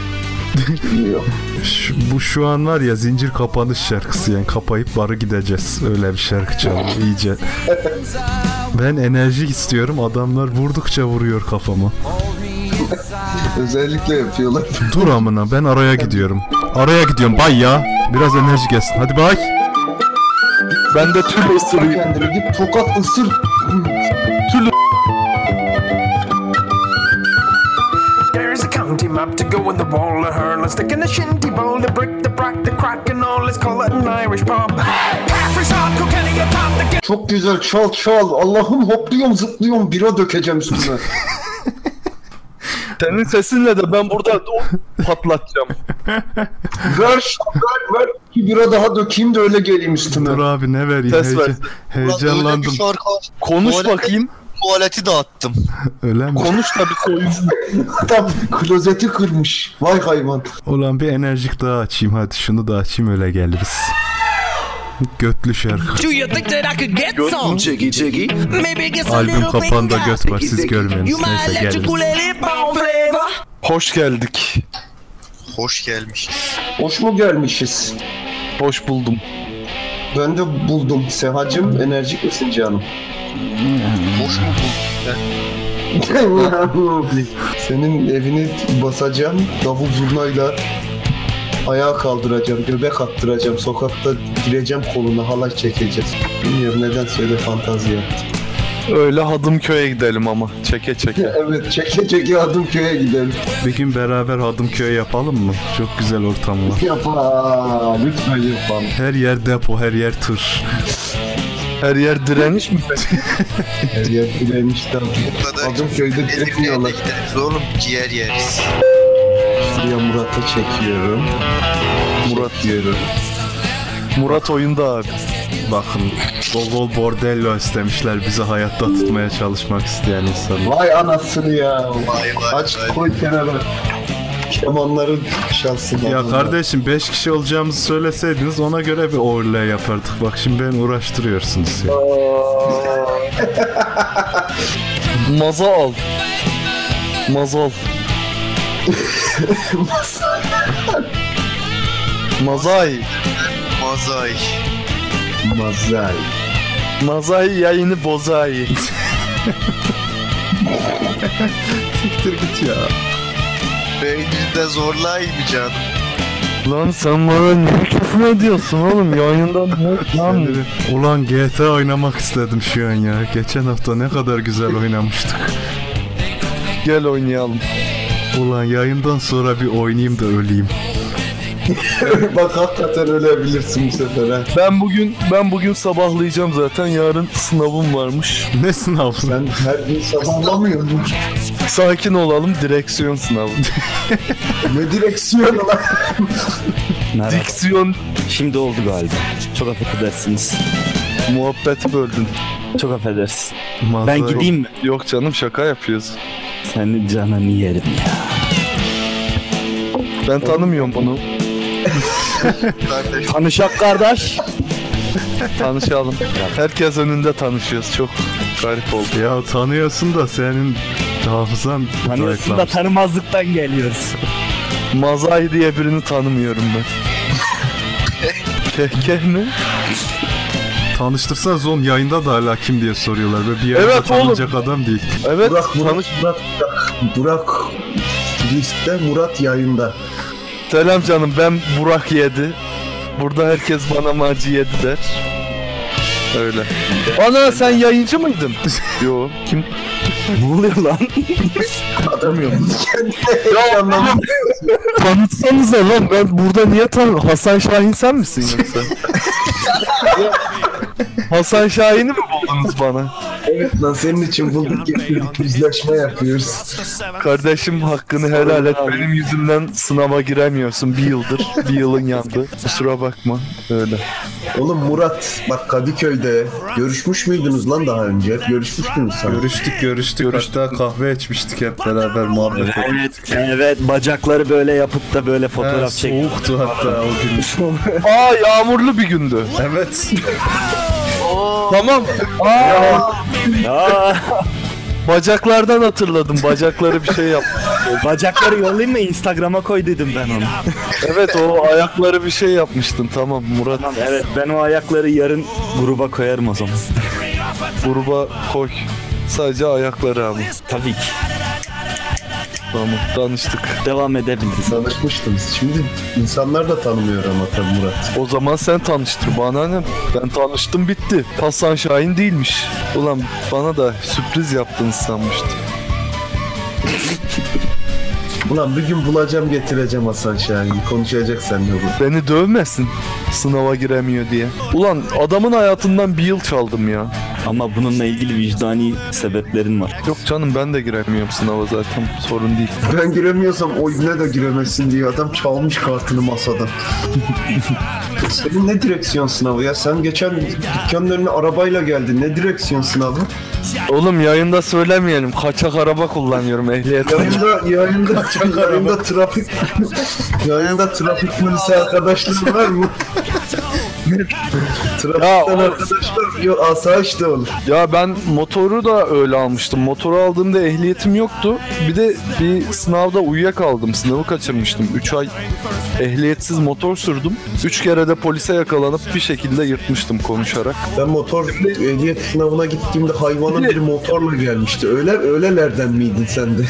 Yok.
Şu- bu şu an var ya zincir kapanış şarkısı yani kapayıp barı gideceğiz. Öyle bir şarkı çalıyor iyice. Ben enerji istiyorum adamlar vurdukça vuruyor kafama.
Özellikle yapıyorlar.
Dur amına ben araya gidiyorum. Araya gidiyorum bay ya. Biraz enerji gelsin. Hadi bay.
Ben de tül ısırayım.
Kendine git tokat ısır.
There's a county map to go in the wall of her. Let's stick in the shinty bowl, the brick, the brack, the crack, and all. Let's call it an Irish pub. Hey, Caffrey's hot, Kilkenny, a pop, the gay
Çok güzel çal çal. Allah'ım hopluyorum zıplıyorum bira dökeceğim üstüne.
Senin sesinle de ben burada o- patlatacağım.
Ver şunu, ver ver. Bir bira daha dökeyim de öyle geleyim üstüne.
Dur abi ne vereyim
Ses
heyecan-
versin.
heyecanlandım.
Konuş
Tuvalete-
bakayım.
Tuvaleti dağıttım.
Öyle mi?
Konuş da bir soyunsun.
Adam klozeti kırmış. Vay hayvan.
Ulan bir enerjik daha açayım hadi şunu da açayım öyle geliriz. Götlü şarkı.
Do you think that I could get some?
Jiggy jiggy.
Maybe it gets a
Albüm
little
kapağında
finger.
göt var siz
You
görmeniz.
my
Neyse
electrical
geliriz.
lollipop flavor.
Hoş geldik.
Hoş gelmiş.
Hoş mu gelmişiz?
Hoş buldum.
Ben de buldum. Sehacım enerjik misin canım?
Hoş mu bu?
Senin evini basacağım. Davul zurnayla ayağa kaldıracağım. Göbek attıracağım. Sokakta gireceğim koluna. Halay çekeceğiz. Bilmiyorum neden söyle fantazi yaptım.
Öyle hadım köye gidelim ama. Çeke çeke.
evet çeke çeke adım köye gidelim.
Bir gün beraber Hadımköy yapalım mı? Çok güzel ortam var.
Yapa. Lütfen yapalım.
Her yer depo, her yer tır.
Her yer direniş mi?
Her yer direnmiş tabii.
kadar
Adım köyde
Edirne'ye
direniyorlar.
de gideriz oğlum ciğer yeriz.
Şuraya Murat'a çekiyorum. Murat diyorum.
Murat oyunda abi.
Bakın bol bol bordello istemişler bizi hayatta tutmaya çalışmak isteyen insanlar.
Vay anasını ya.
Vay vay
Aç
vay.
koy kenara. Kemanların şansını.
Ya
alın.
kardeşim 5 kişi olacağımızı söyleseydiniz ona göre bir overlay yapardık. Bak şimdi beni uğraştırıyorsunuz ya.
Maza al. Maza al. Mazay.
Mazay.
Mazay.
Mazay yayını bozay.
Siktir git ya.
Beyninde zorlayayım canım.
Lan sen bana ne küfür ediyorsun oğlum yayından ne lan?
Ulan GTA oynamak istedim şu an ya. Geçen hafta ne kadar güzel oynamıştık.
Gel oynayalım.
Ulan yayından sonra bir oynayayım da öleyim.
Bak hakikaten ölebilirsin bu sefer ha.
Ben bugün ben bugün sabahlayacağım zaten yarın sınavım varmış.
Ne sınavı?
Ben her gün sabahlamıyorum.
Sakin olalım direksiyon sınavı.
ne direksiyon lan.
Merhaba.
Diksiyon
Şimdi oldu galiba. Çok affedersiniz.
muhabbeti böldün.
Çok affedersin.
Mazda-
Ben gideyim mi?
Yok canım şaka yapıyoruz.
Senin canını yerim ya.
Ben tanımıyorum bunu.
Kardeş
Tanışak kardeş.
Tanışalım. Herkes önünde tanışıyoruz. Çok garip oldu.
Ya tanıyorsun da senin hafızan
Tanıyorsun da
zayıflamış.
tanımazlıktan geliyoruz.
Mazay diye birini tanımıyorum ben. Kehkeh mi?
Tanıştırsanız oğlum yayında da hala kim diye soruyorlar. Böyle bir yerde
Evet oğlum.
tanınacak adam değil.
Evet
Burak, Burak,
tanış.
Burak, Burak, Burak. Diskte Murat yayında.
Selam canım ben Burak yedi. Burada herkes bana macı yedi der. Öyle. Ana sen yayıncı mıydın? Yo. Kim?
Ne oluyor lan?
Atamıyorum. Heyecanlandım.
Tanıtsanıza lan ben burada niye tan Hasan Şahin sen misin yoksa? Hasan Şahin'i mi buldunuz bana?
evet lan senin için bulduk getirdik yüzleşme yapıyoruz.
Kardeşim hakkını helal et. Benim yüzümden sınava giremiyorsun bir yıldır. Bir yılın yandı. Kusura bakma. Öyle.
Oğlum Murat bak Kadıköy'de görüşmüş müydünüz lan daha önce? Görüşmüştünüz sanırım.
Görüştük görüştük. Hatta kahve içmiştik hep beraber muhabbet ettik.
Evet, evet. Bacakları böyle yapıp da böyle
Ha,
fotoğraf çek.
soğuktu hatta o gün.
Aa yağmurlu bir gündü.
evet.
Tamam.
Aa,
Bacaklardan hatırladım. Bacakları bir şey yap.
bacakları yollayayım mı? Instagram'a koy dedim ben onu.
Evet o ayakları bir şey yapmıştın. Tamam Murat
Tamam, evet. Ben o ayakları yarın gruba koyarım o zaman.
gruba koy. Sadece ayakları abi.
Tabii ki.
Tamam tanıştık.
Devam edebiliriz.
Tanışmıştınız. Şimdi insanlar da tanımıyor ama tabii Murat.
O zaman sen tanıştır bana ne? Ben tanıştım bitti. Hasan Şahin değilmiş. Ulan bana da sürpriz yaptınız sanmıştım.
Ulan bir gün bulacağım getireceğim Hasan Şahin'i. Konuşacak seninle bu.
Beni dövmesin sınava giremiyor diye. Ulan adamın hayatından bir yıl çaldım ya.
Ama bununla ilgili vicdani sebeplerin var.
Yok canım ben de giremiyorum sınava zaten sorun değil.
Ben giremiyorsam o ibne de giremezsin diye adam çalmış kartını masadan. Senin ne direksiyon sınavı ya? Sen geçen dükkanın önüne arabayla geldin. Ne direksiyon sınavı?
Oğlum yayında söylemeyelim kaçak araba kullanıyorum ehliyet.
Yayında, yayında, yayında trafik, yayında trafik polisi arkadaşları var mı?
Ya
Trafikten
oğlum.
arkadaşlar yok asayiş de olur.
Ya ben motoru da öyle almıştım. Motoru aldığımda ehliyetim yoktu. Bir de bir sınavda uyuyakaldım. Sınavı kaçırmıştım. 3 ay ehliyetsiz motor sürdüm. 3 kere de polise yakalanıp bir şekilde yırtmıştım konuşarak.
Ben motor ehliyet sınavına gittiğimde hayvanın biri motorla gelmişti. Öyle öylelerden miydin sen de?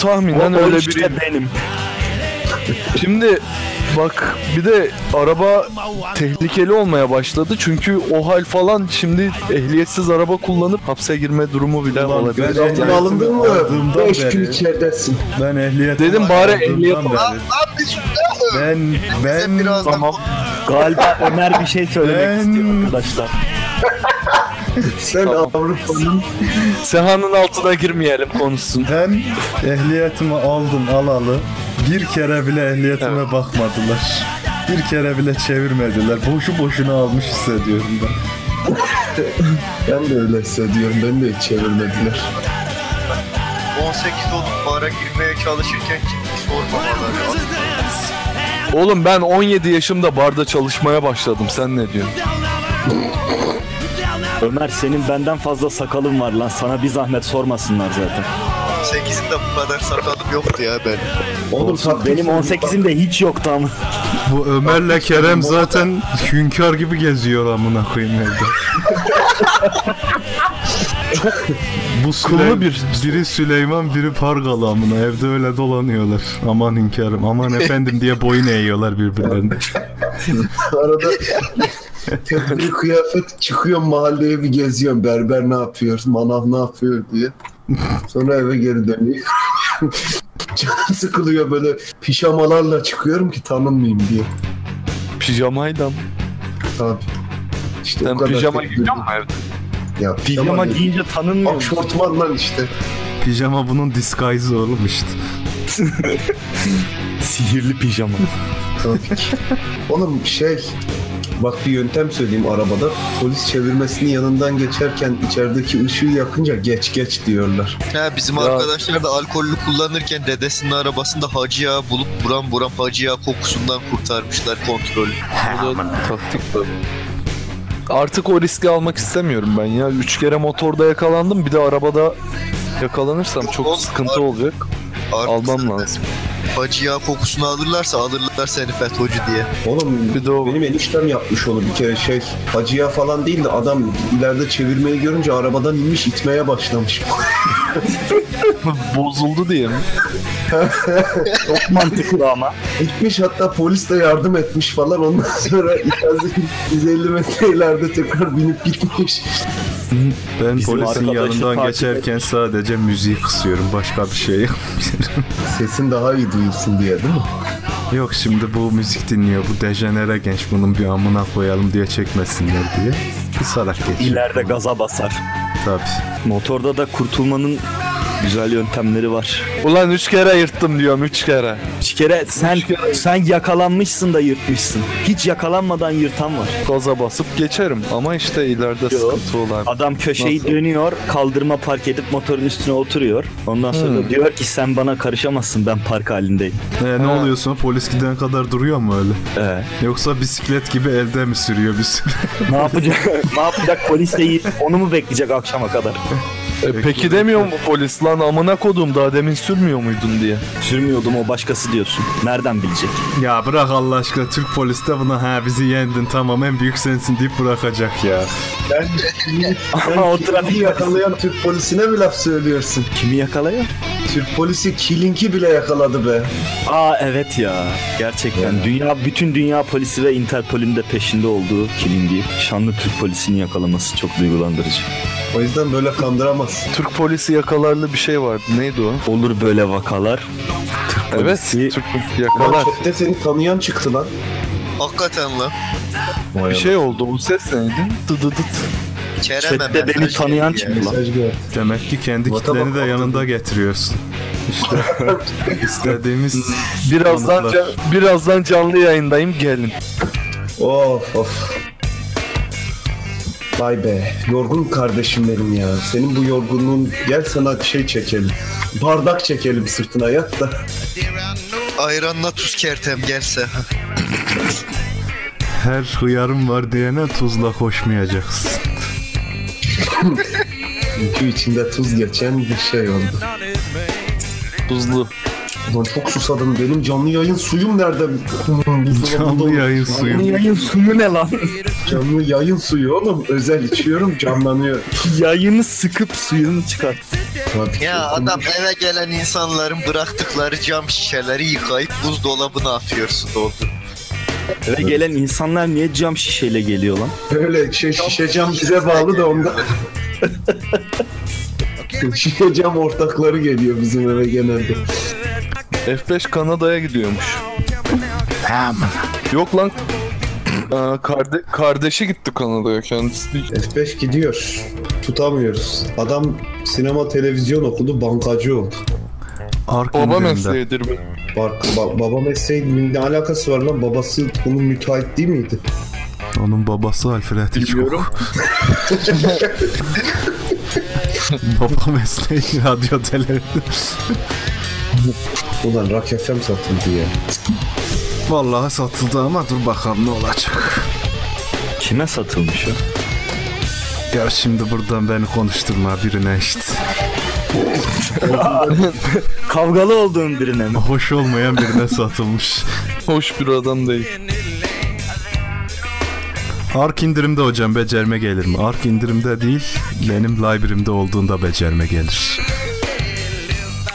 Tahminen
O
öyle
işte
bir...
benim.
Şimdi bak bir de araba tehlikeli olmaya başladı. Çünkü o hal falan şimdi ehliyetsiz araba kullanıp hapse girme durumu bile olabilir.
Gözaltına alındın mı?
aldığımdan
5 gün
beri.
içeridesin.
Ben ehliyet
Dedim bari ehliyet al.
Lan lan biz
Ben ben
ben birazdan
Tamam.
Galiba Ömer bir şey söylemek
Ben-
istiyor arkadaşlar.
Sen Avrupa'nın
Seha'nın altına girmeyelim konuşsun.
ben ehliyetimi aldım alalı. Bir kere bile ehliyetime bakmadılar. Bir kere bile çevirmediler. Boşu boşuna almış hissediyorum ben.
Ben de öyle hissediyorum. Beni de hiç çevirmediler.
18 olup bara girmeye çalışırken kimse sormamaları lazım.
Oğlum ben 17 yaşımda barda çalışmaya başladım. Sen ne diyorsun?
Ömer senin benden fazla sakalın var lan. Sana bir zahmet sormasınlar zaten.
18'inde bu kadar sakalım yoktu ya ben.
Oğlum saklı-
Benim 18'im de hiç yoktu ama.
Bu Ömer'le Kerem zaten hünkâr gibi geziyor amına koyayım evde. Bu Süley-
Kıllı bir-
biri Süleyman biri Pargalı amına evde öyle dolanıyorlar. Aman hünkârım aman efendim diye boyun eğiyorlar birbirlerine.
Arada tek bir kıyafet çıkıyor mahalleye bir geziyorum. Berber ne yapıyor, manav ne yapıyor diye. Sonra eve geri dönüyor. Canım sıkılıyor böyle pijamalarla çıkıyorum ki tanınmayayım diye.
Pijamayla mı?
Tabii. İşte
Sen
o kadar
pijama
tek-
giyiyor musun evde?
Ya
Pijama giyince
Bak
tanınmıyor.
şortman lan işte.
Pijama bunun disguise oğlum işte.
Sihirli pijama.
Tabii ki. Oğlum şey Bak bir yöntem söyleyeyim arabada. Polis çevirmesini yanından geçerken içerideki ışığı yakınca geç geç diyorlar.
Ha, bizim
Ya.
arkadaşlar da alkollü kullanırken dedesinin arabasında hacı yağı bulup buram buram hacı yağı kokusundan kurtarmışlar kontrolü.
Bu da taktik tabii. Artık o riski almak istemiyorum ben ya. Üç kere motorda yakalandım bir de arabada yakalanırsam çok
Oğlum,
sıkıntı olacak.
Artık
Almam
sen-
lazım.
Hacı yağı kokusunu alırlarsa alırlar seni FETÖ'cü diye.
Oğlum
Bir de o var.
benim eniştem yapmış onu bir kere şey. Hacıya falan değil de adam ileride çevirmeyi görünce arabadan inmiş itmeye başlamış.
Bozuldu diye mi?
Çok mantıklı ama.
İtmiş hatta polis de yardım etmiş falan ondan sonra ilerideki 150 metre ileride tekrar binip gitmiş.
Ben
Bizim
polisin
arkadaşı
yanından
takip
geçerken sadece müziği kısıyorum başka bir şey yok.
Sesin daha iyi duyulsun diye değil mi?
Yok şimdi bu müzik dinliyor bu dejenere genç bunun bir amına koyalım diye çekmesinler diye. Bir salak geçiyor.
İleride gaza basar.
Tabii.
Motorda da kurtulmanın güzel yöntemleri var.
Ulan üç kere yırttım diyorum üç kere.
Bir kere sen sen yakalanmışsın da yırtmışsın. Hiç yakalanmadan yırtan var.
Gaza basıp geçerim ama işte ileride sıkıntı olan.
Adam köşeyi dönüyor, kaldırma park edip motorun üstüne oturuyor. Ondan sonra da diyor ki sen bana karışamazsın ben park halindeyim.
E, ne oluyorsun? Polis giden kadar duruyor mu öyle?
Ee,
Yoksa bisiklet gibi elde mi sürüyor bir sürü?
ne yapacak? ne yapacak polis de yiyip onu mu bekleyecek akşama kadar?
E, peki demiyor mu polis lan amına kodum daha demin sürmüyor muydun diye.
Sürmüyordum o başkası diyorsun. Nereden bilecek?
ya bırak Allah aşkına Türk polisi de buna ha bizi yendin tamam en büyük sensin deyip bırakacak ya.
Ama o
Trafiği
trafik
yakalayan Türk polisine mi laf söylüyorsun?
kimi yakalıyor?
Türk polisi Kilink'i bile yakaladı be.
Aa evet ya. Gerçekten dünya bütün dünya polisi ve Interpol'ün de peşinde olduğu Kilingi şanlı Türk polisini yakalaması çok duygulandırıcı.
O yüzden böyle kandıramazsın.
Türk polisi yakalarlı bir şey vardı. Neydi o?
Olur böyle vakalar.
Evet.
Polisi-
Türk polisi yakalar.
Manşette seni tanıyan çıktı lan.
Hakikaten lan.
Bir şey oldu. O ses neydi? Dı dı dı.
Kerem'e
Chat'te beni
mesaj
tanıyan
geldi ya.
çıktı lan.
Demek ki kendi
Vata
kitleni de
bak-
yanında getiriyorsun. İşte istediğimiz
Hmm.
Birazdan
Umutlar.
can- birazdan canlı yayındayım gelin.
Of of. Vay be. Yorgun kardeşim benim ya. Senin bu yorgunluğun gel sana şey çekelim. Bardak çekelim sırtına yat da.
Ayranla tuz kertem gelse.
her hıyarım var diyene tuzla koşmayacaksın.
Çünkü içinde tuz geçen bir şey oldu.
Tuzlu.
Lan çok susadım. Benim canlı yayın suyum nerede? Hmm, buzdolabında
Canlı
olmuş.
yayın suyu.
Yayın suyu ne lan?
Canlı yayın suyu oğlum. Özel içiyorum canlanıyor.
Yayını sıkıp suyunu çıkart.
Tabii.
Ya adam eve gelen insanların bıraktıkları cam şişeleri yıkayıp buzdolabına atıyorsun doldu.
Ve gelen insanlar niye cam şişeyle geliyor lan?
Böyle şey şişe cam bize bağlı da onda. şişe cam ortakları geliyor bizim eve genelde.
F5 Kanada'ya gidiyormuş. Yok lan. Aa, karde- kardeşi gitti Kanada'ya kendisi değil.
F5 gidiyor. Tutamıyoruz. Adam sinema televizyon okudu bankacı oldu.
Ark
Baba
indirimde.
mesleğidir bu.
Bak ba- baba mesleğinin ne alakası var lan? Babası bunun müteahhit değil miydi?
Onun babası Alfred Hitchcock. Baba mesleği radyo televizyon.
Ulan Rock FM satıldı ya.
Vallahi satıldı ama dur bakalım ne olacak.
Kime satılmış o?
Ya şimdi buradan beni konuşturma birine işte.
Kavgalı olduğun birine mi?
Hoş olmayan birine satılmış.
Hoş bir adam değil.
Ark indirimde hocam becerme gelir mi? Ark indirimde değil, benim library'imde olduğunda becerme gelir.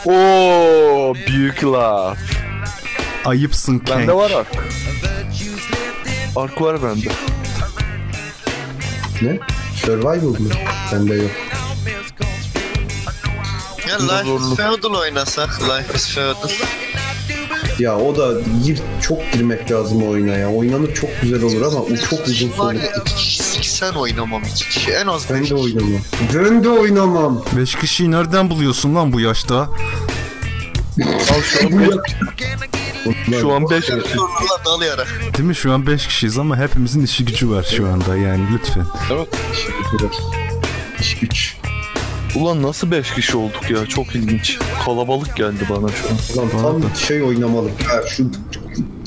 Oo büyük laf.
Ayıpsın Kenk.
Bende var ark. Ark var bende.
Ne? Survival mı? Bende yok.
Ya Life is Feudal oynasak. Life is Feudal.
Ya o da gir, çok girmek lazım o oyuna ya. Oynanır çok güzel olur ama o çok uzun
Var
soluklu.
ya iki kişi siksen oynamam iki kişi. En az
Ben
beş
de
kişi.
oynamam. Ben de oynamam.
Beş kişiyi nereden buluyorsun lan bu yaşta?
Al şu an, şu an 5 kişi.
Zorla dalayarak.
Değil mi? Şu an beş kişiyiz ama hepimizin işi gücü var şu anda yani lütfen.
güç.
Ulan nasıl 5 kişi olduk ya çok ilginç. Kalabalık geldi bana şu an.
Lan tam şey oynamalı. Ya şu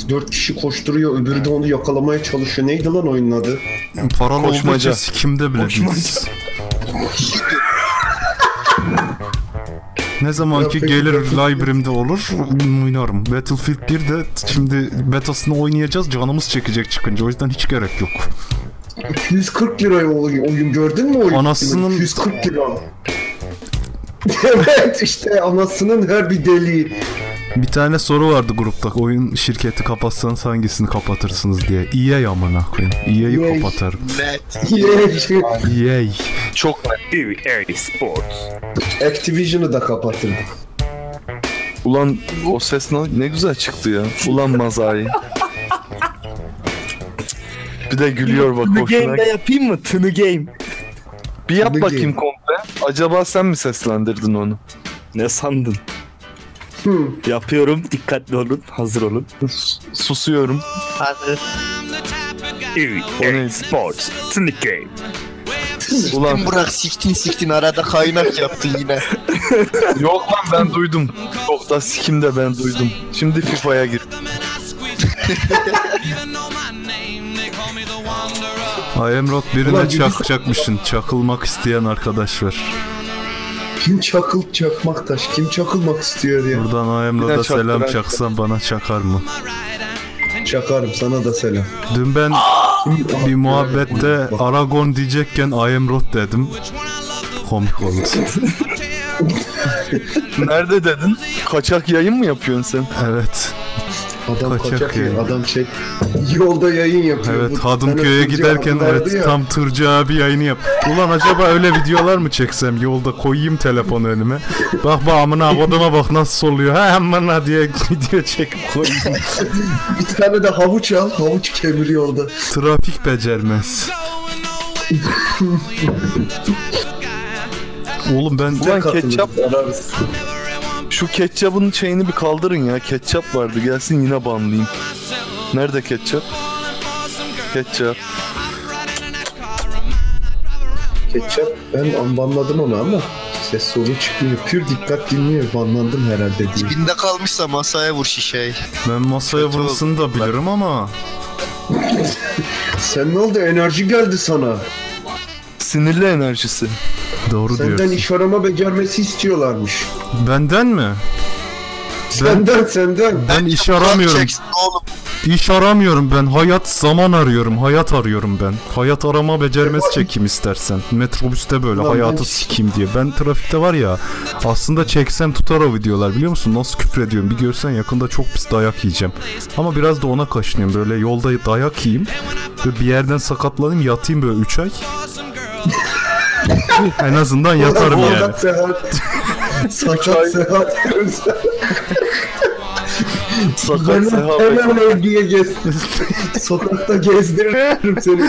dört kişi koşturuyor, öbürü de onu yakalamaya çalışıyor. Neydi lan oyunun adı?
Paran olduğu için
Koşmaca.
sikimde bile değiliz. Ne zamanki
Ya peki,
gelir
şey
Battlefield-
library'imde olur oynarım. Battlefield 1 de şimdi betasını oynayacağız canımız çekecek çıkınca o yüzden hiç gerek yok.
240 liraya oyun, oyun gördün mü oyun?
Anasının-
240 lira. evet işte anasının her bir deliği.
Bir tane soru vardı grupta oyun şirketi kapatsanız hangisini kapatırsınız diye. EA amına koyayım. E EA'yi
E
Yay.
kapatarım.
Net.
EA.
Çok
Activision'ı da kapatırdı.
Ulan o ses ne, ne güzel çıktı ya. Ulan mazai. Bir de gülüyor bak hoşuna.
yapayım mı? Tını game.
Bir yap
Game.
bakayım komple. Acaba sen mi seslendirdin onu?
Ne sandın? Yapıyorum. Dikkatli olun. Hazır olun.
Sus- Susuyorum. O ne?
Sports. Tını game.
Ulan
Siktin bırak siktin siktin arada kaynak yaptın yine.
yok lan ben duydum. Yok da sikim de ben duydum. Şimdi FIFA'ya gir.
I am Rod birine
Ulan bir-
çakacakmışsın. Çakılmak isteyen arkadaş var.
Kim çakıl çakmak taş, kim çakılmak istiyor ya.
Buradan I am
Bir de
Rod'a
çaktı,
selam
ben-
çaksan bana çakar mı?
Çakarım sana da selam.
Dün ben bir muhabbette
Bak.
Aragon diyecekken I am Rod dedim. Komik oldu.
Nerede dedin? Kaçak yayın mı yapıyorsun sen?
Evet.
Adam
Kaçak
kaçak,
yayın.
ya. adam şey yolda yayın yapıyor.
Evet
Bu
Hadımköy'e
tane tırcı
giderken
abi vardı
evet
ya.
tam tırcı abi yayını yap. Ulan acaba öyle videolar mı çeksem yolda koyayım telefonu önüme. Bak bak amına koduma bak nasıl oluyor. Ha amına diye video çekip koyayım.
Bir tane de havuç al, havuç kemiriyor orada.
Trafik becermez. Oğlum ben
Ulan
katılırız,
ketçap
ararız.
Şu ketçapın şeyini bir kaldırın ya. Ketçap vardı. Gelsin yine banlayayım. Nerede ketçap? Ketçap.
Ketçap ben ambanladım onu ama ses solu çıkmıyor. Pür dikkat dinliyor. Banlandım herhalde diye.
Dibinde kalmışsa masaya vur şişeyi.
ben masaya
Kötü
vurmasını da bilirim ama
Sen ne oldu? Enerji geldi sana.
Sinirli enerjisi.
doğru
Senden
diyorsun.
iş arama becermesi istiyorlarmış.
Benden mi? Ben
Senden senden.
ben iş
Ulan
aramıyorum.
çeksin oğlum.
İş aramıyorum ben. Hayat zaman arıyorum. Hayat arıyorum ben. Hayat arama becermesi çekeyim istersen. Metrobüste böyle
Ulan ben-
hayatı sikeyim diye. Ben trafikte var ya aslında çeksem tutar o videolar biliyor musun? Nasıl küfür ediyorum bir görsen yakında çok pis dayak yiyeceğim. Ama biraz da ona kaşınıyorum. Böyle yolda dayak yiyeyim. Böyle bir yerden sakatlanayım yatayım böyle 3 ay. en azından yatarım yani.
Sakat Sehat. Sakat Sehat.
Sakat
Beni
Seha
hemen örgüye gez. Sokakta gezdiririm seni.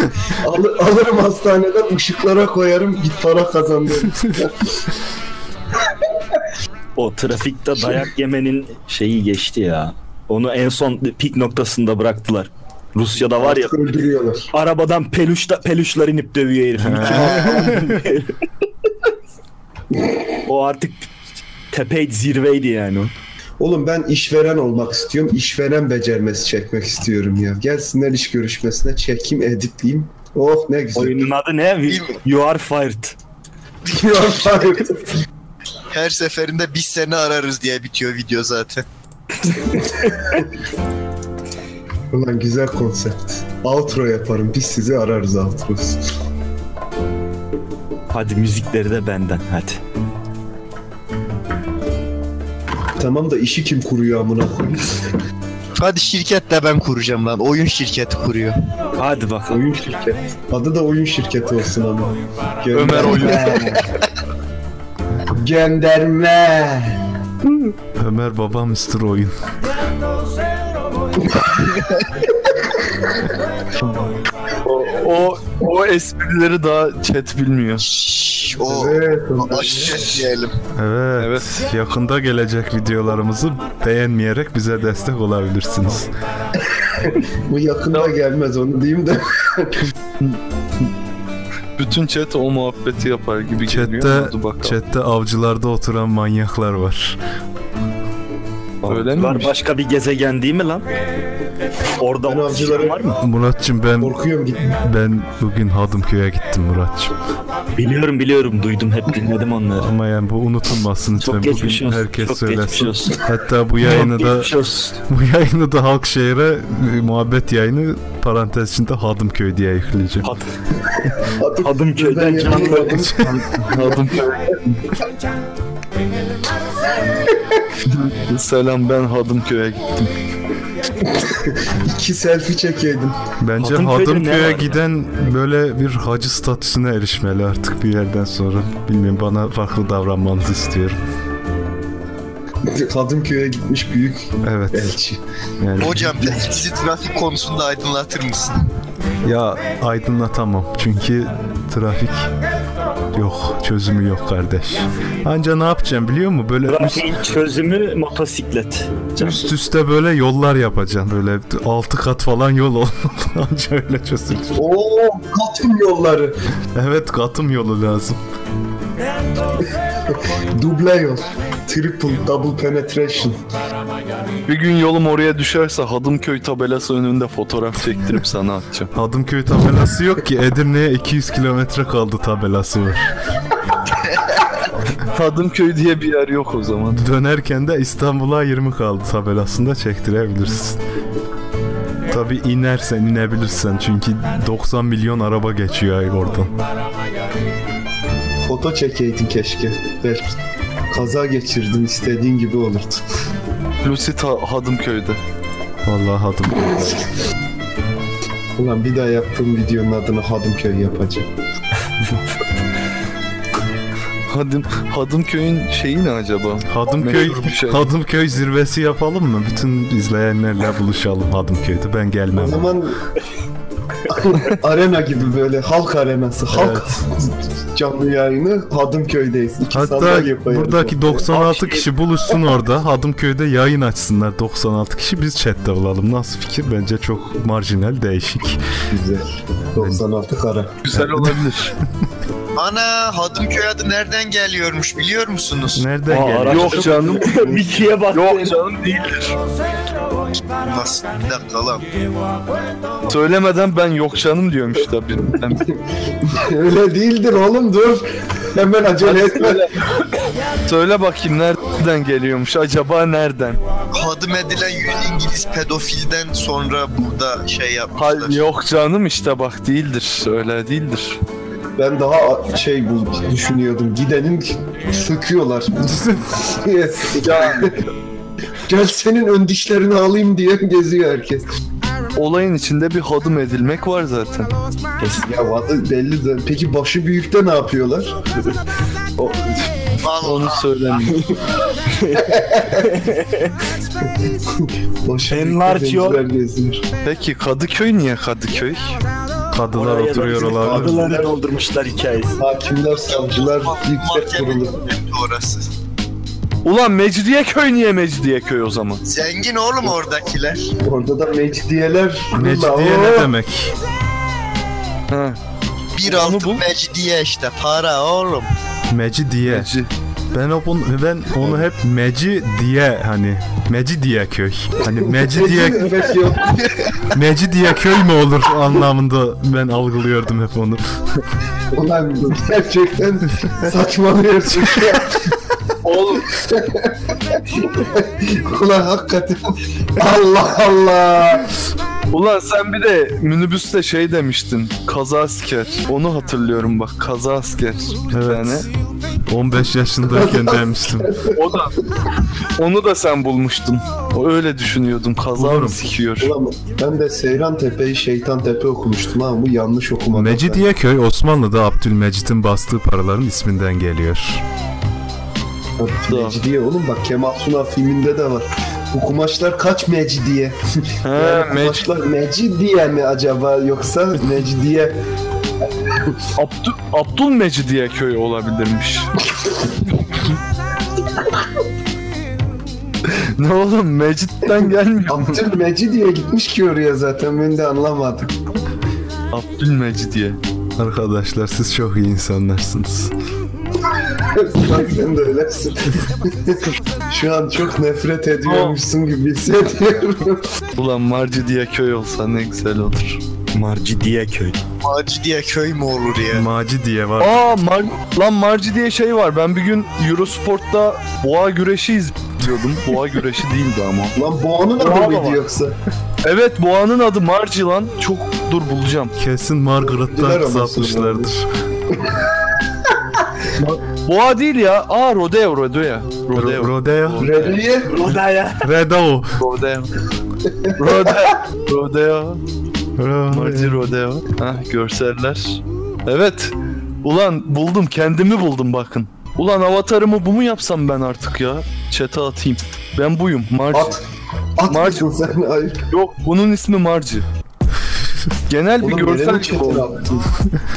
Alır, alırım hastaneden ışıklara koyarım. Git para kazan derim.
O trafikte dayak yemenin şeyi geçti ya. Onu en son pik noktasında bıraktılar. Rusya'da var ya
Öldürüyorlar.
arabadan peluşla, peluşlar inip dövüyor herifin. o artık tepeydi zirveydi yani o.
Oğlum ben işveren olmak istiyorum. İşveren becermesi çekmek istiyorum ya. Gelsinler iş görüşmesine çekeyim, editleyeyim. Oh ne güzel.
Oyunun adı ne? You are fired.
Her seferinde biz seni ararız diye bitiyor video zaten.
Ulan güzel konsept. Outro yaparım. Biz sizi ararız outrosu.
Hadi müzikleri de benden hadi.
Tamam da işi kim kuruyor amına koyayım?
Hadi şirket de ben kuracağım lan. Oyun şirketi kuruyor.
Hadi bakalım.
Oyun şirketi. Adı da oyun şirketi olsun ama.
Ömer Oyun.
Gönderme.
Ömer babam Mr. Oyun.
o, o, o esprileri daha chat bilmiyor.
Şşş, o
Evet.
aşırı diyelim.
Evet, Yakında gelecek videolarımızı beğenmeyerek bize destek olabilirsiniz.
Bu yakında gelmez onu diyeyim de.
Bütün chat o muhabbeti yapar gibi geliyor.
Chat'te,
Hadi bakalım.
chat'te avcılarda oturan manyaklar var.
Öyle
Var
miymiş?
başka bir gezegen değil mi lan? Orada
Ben
oksijen
avcılara-
var mı?
Muratçım ben
Korkuyorum git.
ben bugün Hadımköy'e gittim Muratçım.
Biliyorum biliyorum duydum hep dinledim onları.
Ama yani bu unutulmasın lütfen.
Çok geçmiş
bugün
olsun.
herkes
Çok geçmiş
söylesin.
olsun.
Hatta bu yayını
Çok
da
geçmiş olsun.
bu yayını da Halkşehir'e e, muhabbet yayını parantez içinde Hadımköy diye yükleyeceğim.
Atıp
Hadımköy'den canlı.
Adım Selam ben Hadımköy'e gittim.
iki selfie çekeydim.
Bence
Hadımköy'de ne
Hadımköy'e
var
giden böyle bir hacı statüsüne erişmeli artık bir yerden sonra. Bilmiyorum bana farklı davranmanızı istiyorum.
Kadımköy'e gitmiş büyük
Evet.
elçi.
Yani
Hocam bizi trafik konusunda aydınlatır mısın?
ya aydınlatamam çünkü trafik yok çözümü yok kardeş. Anca ne yapacağım biliyor musun? Böyle üst,
Trafiğin çözümü motosiklet. Can.
üst üste böyle yollar yapacaksın. Böyle 6 kat falan yol olmalı. Anca öyle çözülür.
Oo katın yolları.
Evet katım yolu lazım.
Duble yol. Triple, double penetration.
Bir gün yolum oraya düşerse Hadımköy tabelası önünde fotoğraf çektirip sana atacağım.
Hadımköy tabelası yok ki. Edirne'ye 200 kilometre kaldı tabelası var.
Hadımköy diye bir yer yok o zaman.
Dönerken de İstanbul'a 20 kaldı tabelasında çektirebilirsin. Tabi inersen inebilirsen çünkü 90 milyon araba geçiyor ay oradan.
Foto çekeydin keşke. Belki kaza geçirdin istediğin gibi olurdu.
Lucy ta- Hadımköy'de.
Vallahi hadım.
Ulan bir daha yaptığım videonun adını Hadımköy yapacağım.
Hadım Hadımköy'ün şeyi ne acaba?
Hadımköy,
Meşhur bir şey.
Hadımköy zirvesi yapalım mı? Bütün izleyenlerle buluşalım Hadımköy'de. Ben
O
gelmem.
zaman arena gibi böyle halk arenası. Halk canlı yayını Hadımköy'deyiz. İki
Hatta
sandalye koyarız
buradaki
ortaya.
96 kişi buluşsun orada. Hadımköy'de yayın açsınlar 96 kişi. Biz chatte olalım. Nasıl fikir? Bence çok marjinal, değişik.
Güzel. 96 kara.
Güzel olabilir.
Ana Hadımköy adı nereden geliyormuş biliyor musunuz?
Nereden
Aa,
geldi?
ara-
Yok canım.
Miki'ye bak.
Yok canım değildir.
Nasıl? Bir dakika lan.
Söylemeden ben yok canım diyorum işte. Bilmem.
Öyle değildir oğlum dur. Hemen acele etme.
Söyle bakayım nereden geliyormuş acaba nereden?
Hadım edilen yüz İngiliz pedofilden sonra burada şey
Ha,
yapmışlar.
yok canım işte bak değildir öyle değildir.
Ben daha şey bu düşünüyordum. Gidenin söküyorlar. ya. Gel senin ön dişlerini alayım diye geziyor herkes.
Olayın içinde bir hadım edilmek var zaten.
Ya vallahi belli de. Peki başı büyükte ne yapıyorlar?
Al
Onu söylemeyeyim.
Başı
Enlar
büyükte
diyor.
zenciler geziyor.
Peki Kadıköy niye Kadıköy?
Kadılar
Oraya
oturuyor
bak,
olabilir.
Kadıları doldurmuşlar hikayesi.
Hakimler, savcılar, yüksek kurulu.
orası.
Ulan Mecidiyeköy niye Mecidiyeköy o zaman?
Zengin oğlum oradakiler.
Orada da mecdiyeler.
Mecidiye
Oo.
ne demek?
Ha,
Bir
Onu
altı
bul.
mecidiye işte para oğlum.
Mecidiye.
Meci.
Ben o bun- ben onu hep Meci diye hani Meci diye köy. Hani Meci diye
Evet, yok.
Meci diye köy mü olur anlamında ben algılıyordum hep onu.
Ulan bu gerçekten saçmalıyorsun ya. Oğlum. Ulan hakikaten. Allah Allah.
Ulan sen bir de minibüste şey demiştin. Kaza asker. Onu hatırlıyorum bak kaza asker. Bir
Evet.
tane.
15 yaşındayken demiştim.
O da. Onu da sen bulmuştun. O öyle düşünüyordum. Kaza mı
Bulurum.
sikiyor?
Ulan ben de Seyran Tepe'yi Şeytan Tepe okumuştum ama bu yanlış okuma.
Mecidiye köy Osmanlı'da Abdülmecit'in bastığı paraların isminden geliyor.
Mecidiye oğlum bak Kemal Sunal filminde de var. Bu kumaşlar kaç Mecidiye?
He,
yani
Mec
kumaşlar Mecidiye mi acaba yoksa Mecidiye?
Abdül Abdul Mecidiye köyü olabilirmiş. ne oğlum Mecid'den gelmiyor.
Abdül Mecidiye gitmiş ki oraya zaten ben de anlamadım.
Abdül Mecidiye.
Arkadaşlar siz çok iyi insanlarsınız.
Bak sen de öylesin. Şu an çok nefret ediyormuşsun gibi hissediyorum.
Ulan Marcidiye köy olsa ne güzel olur.
Marcidiye köy.
Macidiye köy mü olur ya?
Maci diye var.
Aa Mar lan Marci diye şey var. Ben bir gün Eurosport'ta boğa güreşi izliyordum. Boğa güreşi değildi ama.
Lan bu onun
Bravo
adı
lan.
mıydı yoksa?
Evet boğanın adı Marci lan. Çok dur bulacağım.
Kesin
Diler
Margaret'tan
ama
kısaltmışlardır.
Boğa değil ya. Aa Rodeo Rodeo.
Ro-
Rodeo.
Rodeo.
Rediye
Rodaya.
Redao.
Rodeo. Rodeo. Rodeo. Marci Rodeo. Hah görseller. Evet. Ulan buldum kendimi buldum bakın. Ulan avatarımı bu mu yapsam ben artık ya? Çete atayım. Ben buyum. Marci.
at. At
Mark-
mısın sen? Hayır.
Yok bunun ismi Marci. Genel bir
Ulan
görsel
nereye
gibi
çetin
oldu.
attın?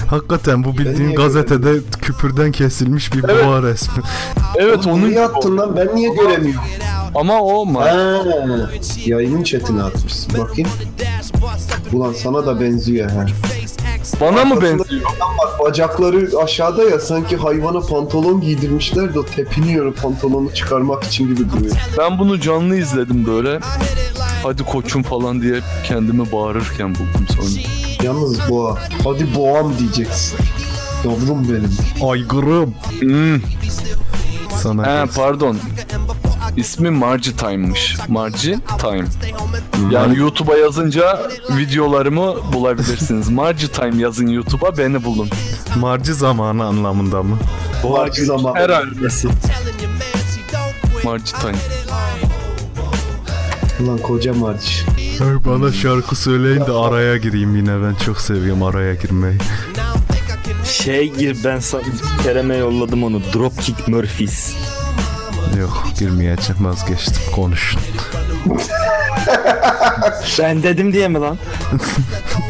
Hakikaten bu bildiğin
niye
gazetede küpürden kesilmiş bir
Evet.
boğa resmi.
Evet onun
Onu
gibi
niye
oldu.
attın lan? Ben niye göremiyorum?
Ama o Marci.
Ha, yayının chatine atmışsın. Bakayım. Ulan sana da benziyor ha.
Bana mı benziyor?
Adam bak bacakları aşağıda ya sanki hayvana pantolon giydirmişler de o tepiniyor pantolonu çıkarmak için gibi duruyor.
Ben bunu canlı izledim böyle. Hadi koçum falan diye kendimi bağırırken buldum sonra.
Yalnız boğa. Hadi boğam diyeceksin. Yavrum benim.
Aygırım.
Hmm.
Sana
He
gelsin.
pardon. İsmi Marci Time'mış. Marci Time. Yani YouTube'a yazınca videolarımı bulabilirsiniz. Marci Time yazın YouTube'a beni bulun.
Marci zamanı anlamında mı?
Boğa zaman.
Herhalde
Nasıl?
Marci Time.
Ulan koca marş.
Ay, Bana şarkı söyleyin de araya gireyim yine ben çok seviyorum araya girmeyi.
Şey gir ben sana Kerem'e yolladım onu. Dropkick Murphys.
Yok girmeyeceğim vazgeçtim konuşun.
Ben dedim diye mi lan?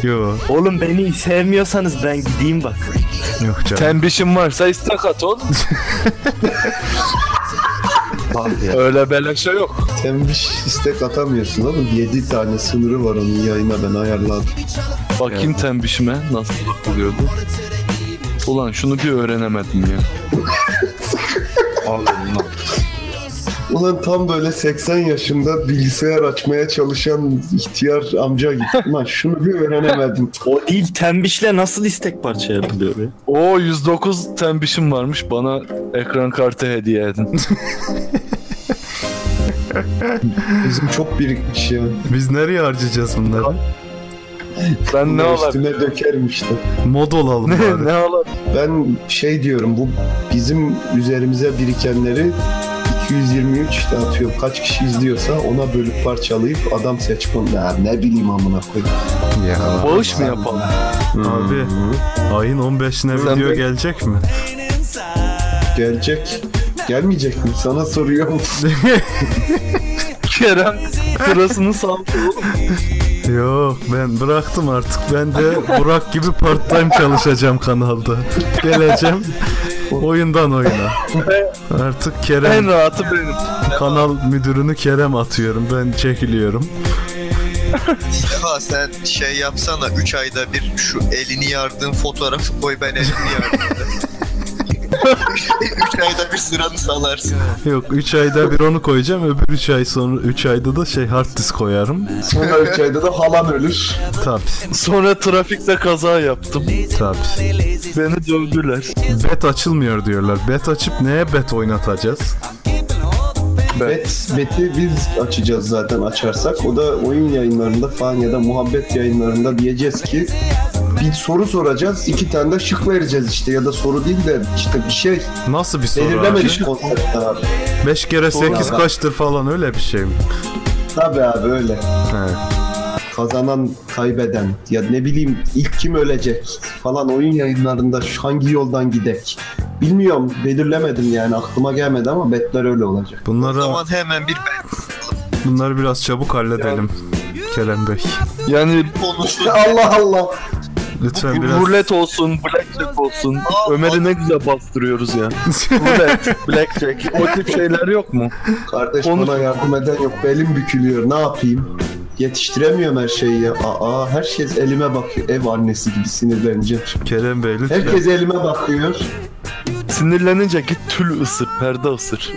Yo,
Oğlum beni sevmiyorsanız ben gideyim bak.
yok canım.
Tembişin varsa istek at oğlum. Öyle beleşe şey yok.
Tembiş istek atamıyorsun oğlum. 7 tane sınırı var onun yayına ben ayarladım.
Bakayım tembişime nasıl bakılıyordu. Ulan şunu bir öğrenemedim ya.
Ulan tam böyle 80 yaşında bilgisayar açmaya çalışan ihtiyar amca gibi. Ulan şunu bir öğrenemedim.
O değil tembişle nasıl istek parça yapılıyor be?
O 109 tembişim varmış bana ekran kartı hediye edin.
Bizim çok birikmiş ya.
Biz nereye harcayacağız bunları?
Ben ne
Bunları
alabilirim?
Üstüme dökerim işte.
Mod olalım
Ne,
bari.
ne alabilirim?
Ben şey diyorum bu bizim üzerimize birikenleri 223 işte atıyorum kaç kişi izliyorsa ona bölüp parçalayıp adam seçmem. Ya ne bileyim amına koyayım.
ya.
Bağış mı yapalım?
Abi ayın 15'ine
Sen
video
de-
gelecek mi?
Gelecek. Gelmeyecek mi? Sana soruyorum.
Kerem sırasını sallıyor oğlum.
Yok ben bıraktım artık. Ben de Burak gibi part time çalışacağım kanalda. Geleceğim oyundan oyuna. Artık
En
Kerem
rahatı benim.
kanal müdürünü Kerem atıyorum. Ben çekiliyorum.
Ha sen şey yapsana 3 ayda bir şu elini yardığın fotoğrafı koy ben elimi yardım. 3 ayda bir sıranı salarsın.
Yok 3 ayda bir onu koyacağım. Öbür 3 ay sonra 3 ayda da şey hard disk koyarım.
Sonra üç ayda da halan ölür.
Tabi
Sonra trafikte kaza yaptım.
tabi.
Beni dövdüler.
Bet açılmıyor diyorlar. Bet açıp neye bet oynatacağız?
Bet, beti biz açacağız zaten açarsak. O da oyun yayınlarında falan ya da muhabbet yayınlarında diyeceğiz ki bir soru soracağız. iki tane de şık vereceğiz işte ya da soru değil de işte bir şey
Nasıl bir soru abi?
belirlemedik konsept abi.
5 kere
Soru
8
abi.
kaçtır falan öyle bir şey mi?
Tabii abi öyle.
He.
Kazanan, kaybeden ya ne bileyim ilk kim ölecek falan oyun yayınlarında şu hangi yoldan gidek. Bilmiyorum belirlemedim yani aklıma gelmedi ama betler öyle olacak.
O
Bunları,
zaman hemen bir ben
bunları biraz çabuk halledelim. Kerem Bey.
Yani
konusu
Allah Allah.
Lütfen biraz...
Rulet olsun, blackjack olsun. Ömer'i ne güzel bastırıyoruz ya. Rulet, blackjack. O tip şeyler yok mu?
Kardeş
Onu-
bana yardım eden yok. Belim bükülüyor. Ne yapayım? Yetiştiremiyorum her şeyi ya. Aa, herkes elime bakıyor. Ev annesi gibi sinirleneceğim. şimdi.
Kerem Bey lütfen.
Herkes elime bakıyor.
Sinirlenince git tül ısır, perde ısır.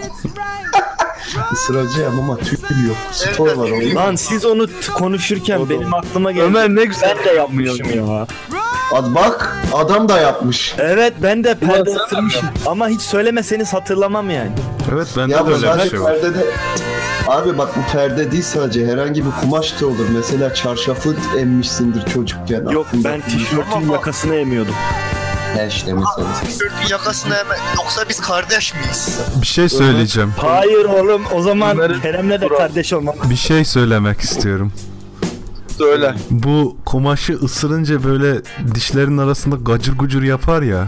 Isıracağım ama tüy yok. Spor var onun.
Lan siz onu t- konuşurken benim aklıma geldi.
Ömer ne güzel.
ben de yapmışım ya.
Ad bak adam da yapmış.
Evet ben de perde ısırmışım. Ama hiç söylemeseniz hatırlamam yani.
Evet bende
Ya
de
bu
öyle bir
sadece
şey var.
perdede... Abi bak bu perde değil sadece herhangi bir kumaş da olur. Mesela çarşafı emmişsindir çocukken.
Yok
Aklında-
ben tişörtün yakasını emiyordum.
He işte mesela.
tişörtün yakasını hemen yoksa biz kardeş miyiz?
Bir şey söyleyeceğim.
Hayır oğlum o zaman
Ömer'in-
Kerem'le de kardeş olmam.
Bir şey söylemek istiyorum.
Söyle.
Bu kumaşı ısırınca böyle dişlerin arasında gacır gucur yapar ya.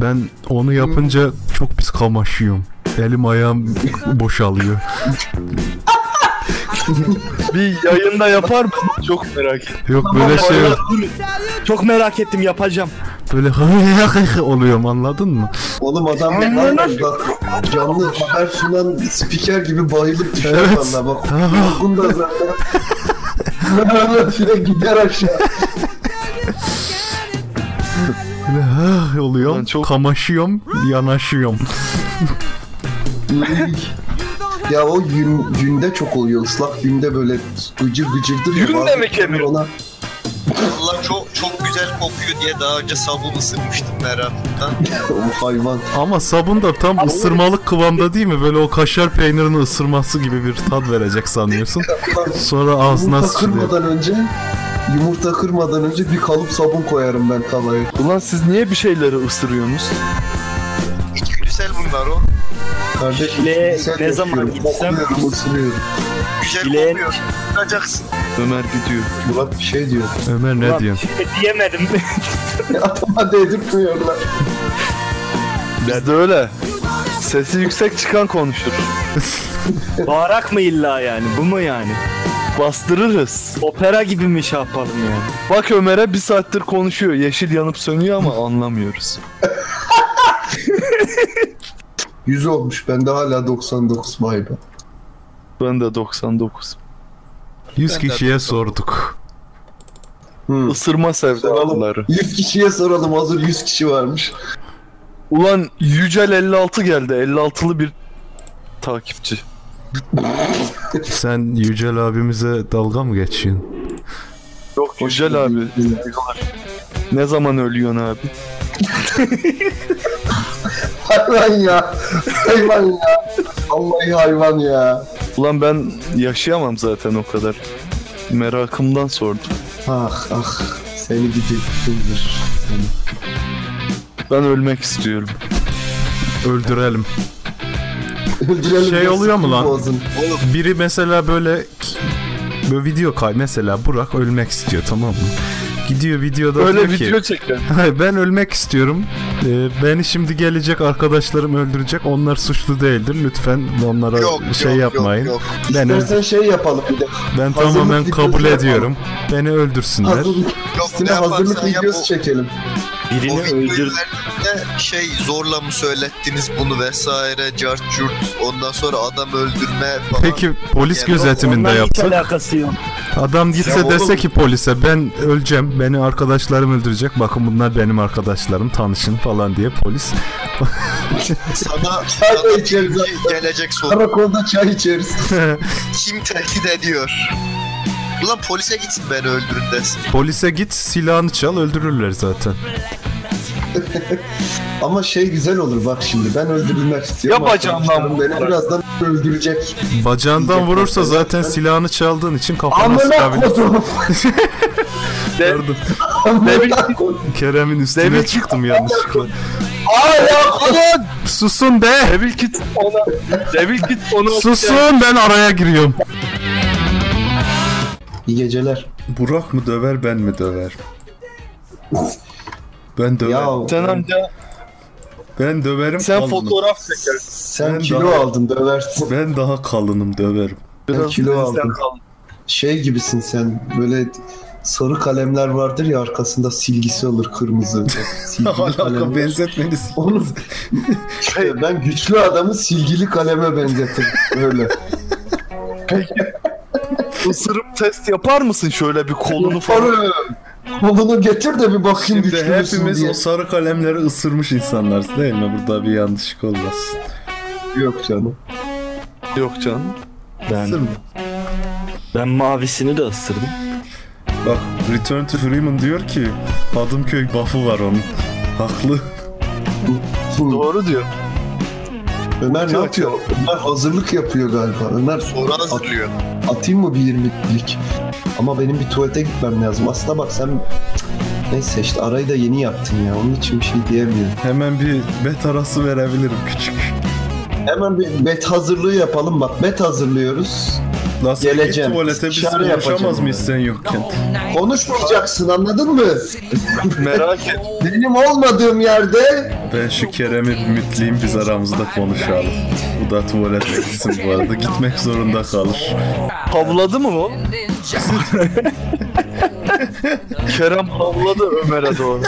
Ben onu yapınca çok pis kamaşıyorum. Elim ayağım boşalıyor.
Bir yayında yapar mı? Çok merak ettim.
Yok böyle şey yok.
Çok merak ettim yapacağım.
Böyle oluyorum anladın mı?
Oğlum adam bak, canlı haber sunan spiker gibi bayılıp düşer
Evet.
valla bak. Yorgun da zaten. Böyle Sürekli gider aşağı.
Böyle "Hah" oluyorum,
Ulan çok-
kamaşıyorum, yanaşıyorum.
ya o yün, yünde çok oluyor. Islak yünde böyle gıcır gıcırdır. ya,
Yünle
bazı
mi kemir?
Ona
Valla çok çok güzel kokuyor diye daha önce sabun ısırmıştım merakımdan.
o hayvan.
Ama sabun da tam ısırmalık kıvamda değil mi? Böyle o kaşar peynirini ısırması gibi bir tat verecek sanıyorsun. Sonra ağzına
Yumurta
sıçrıyor.
kırmadan önce Yumurta kırmadan önce bir kalıp sabun koyarım ben tavaya.
Ulan siz niye bir şeyleri ısırıyorsunuz?
İçgüdüsel bunlar o.
Kardeş
Ne-
sen
ne zaman
yapıyorum,
gitsem-
kokluyorum, ısırıyorum.
Güzel
Bilen-
kokuyor. Tutacaksın.
Ömer gidiyor.
Murat bir şey diyor.
Ömer ne
Ulan,
diyorsun?
bir şey Diyemedim.
Adama değdirtmiyorlar.
Bizde öyle. Sesi yüksek çıkan konuşur.
Bağırak mı illa yani? Bu mu yani?
Bastırırız.
Opera gibi mi şey yapalım ya?
Bak Ömer'e bir saattir konuşuyor. Yeşil yanıp sönüyor ama anlamıyoruz.
100 olmuş. Bende hala 99 vay be.
Ben de 99.
100
Ben de
kişiye sorduk.
Hı.
Isırma sevdaları.
100 kişiye soralım hazır 100 kişi varmış.
Ulan Yücel 56 geldi. 56'lı bir takipçi.
Sen Yücel abimize dalga mı geçiyorsun?
Yok Yücel abi. Ne zaman ölüyorsun abi?
Hayvan ya. Hayvan ya. Vallahi hayvan ya.
Ulan ben yaşayamam zaten o kadar. Merakımdan sordum.
Ah ah. Seni gidip buldur.
Ben ölmek istiyorum.
Öldürelim.
Öldürelim
Şey
de
oluyor mu
sıkı
lan?
boğazını.
Biri mesela böyle böyle video kay mesela Burak ölmek istiyor tamam mı? Gidiyor videoda
Öyle
diyor ki,
video çeker.
Hayır ben ölmek istiyorum. Ee, beni şimdi gelecek arkadaşlarım öldürecek. Onlar suçlu değildir. Lütfen onlara
Yok,
şey
yok, yok,
yapmayın.
yok.
Ben
İstersen şey yapalım bir de.
ben
hazırlık
tamamen
videosu
kabul
yapalım.
ediyorum. Beni öldürsünler.
Hazırlık,
Yok,
üstüne
ne yaparsan
hazırlık
yap,
videosu
o-
çekelim.
Birini
O
öldür...
videolarında şey zorla mı söylettiniz bunu vesaire cart curt ondan sonra adam öldürme falan.
Peki polis
Yani
gözetiminde
Ondan hiç
yapsak?
alakası yok.
Adam gitse
Ya
dese
oğlum-
ki polise ben öleceğim. Beni arkadaşlarım öldürecek. Bakın bunlar benim arkadaşlarım. Tanışın falan diye polis.
Sana,
Çay
sana
içeriz abi.
gelecek soru.
Karakolda çay içeriz.
Kim tehdit ediyor? Ulan polise gitsin beni öldürün desin.
polise git silahını çal öldürürler zaten.
Ama şey güzel olur bak şimdi ben öldürülmek istiyorum.
Yapacağım lan bunu.
Beni birazdan öldürecek.
Bacağından vurursa zaten silahını çaldığın için kafana
Amına
sıkabilir.
kodum.
De-
Pardon.
Amına kodum.
Kerem'in üstüne
Demin-
çıktım yanlışlıkla.
Hala ulan!
Susun be!
Devil Kit ona... Devil Kit ona...
Susun ben araya giriyorum.
İyi geceler.
Burak mı döver ben mi döver? Ben
Ya
döverim.
Sen amca
Ben döverim
sen
kalınım.
fotoğraf çeker.
sen
Ben
kilo
daha-
aldın döversin.
Ben daha kalınım döverim.
Ben kilo
denizden
aldım.
kaldım.
Şey gibisin sen böyle sarı kalemler vardır ya arkasında silgisi olur kırmızı. Silgili
Alaka
kalemler.
benzetmeniz.
Onu İşte şey, ben güçlü adamı silgili kaleme benzetim öyle.
Isırıp test yapar mısın şöyle bir kolunu falan?
Yaparım. Kolunu getir de bir bakayım
Şimdi
güçlü müsün
hepimiz
diye.
o sarı kalemleri ısırmış insanlar değil mi? Burada bir yanlışlık olmasın.
Yok canım.
Yok canım.
Ben,
Isırma.
ben mavisini de ısırdım.
Bak Return to Freeman diyor ki Hadımköy buff'ı var onun. Haklı.
Hı.
Doğru diyor.
Ömer ne yapıyor? Ömer hazırlık yapıyor galiba. Ömer
Soru
at-
hazırlıyor.
atayım mı bir 20'lik? Ama benim bir tuvalete gitmem lazım. Aslında bak sen Neyse işte arayı da yeni yaptın ya. Onun için bir şey diyemiyorum.
Hemen bir bet arası verebilirim küçük.
Hemen bir bet hazırlığı yapalım bak. Bet hazırlıyoruz.
Nasıl
Geleceğim.
tuvalete biz
İşare
konuşamaz
yapacağım
mıyız sen yokken?
Konuşmayacaksın anladın mı?
Merak et.
Benim olmadığım yerde
Ben şu Kerem'i bir mütleyeyim biz aramızda konuşalım. Bu da tuvalete gitsin bu arada. Gitmek zorunda kalır.
Havladı mı o? Kerem havladı Ömer'e doğru.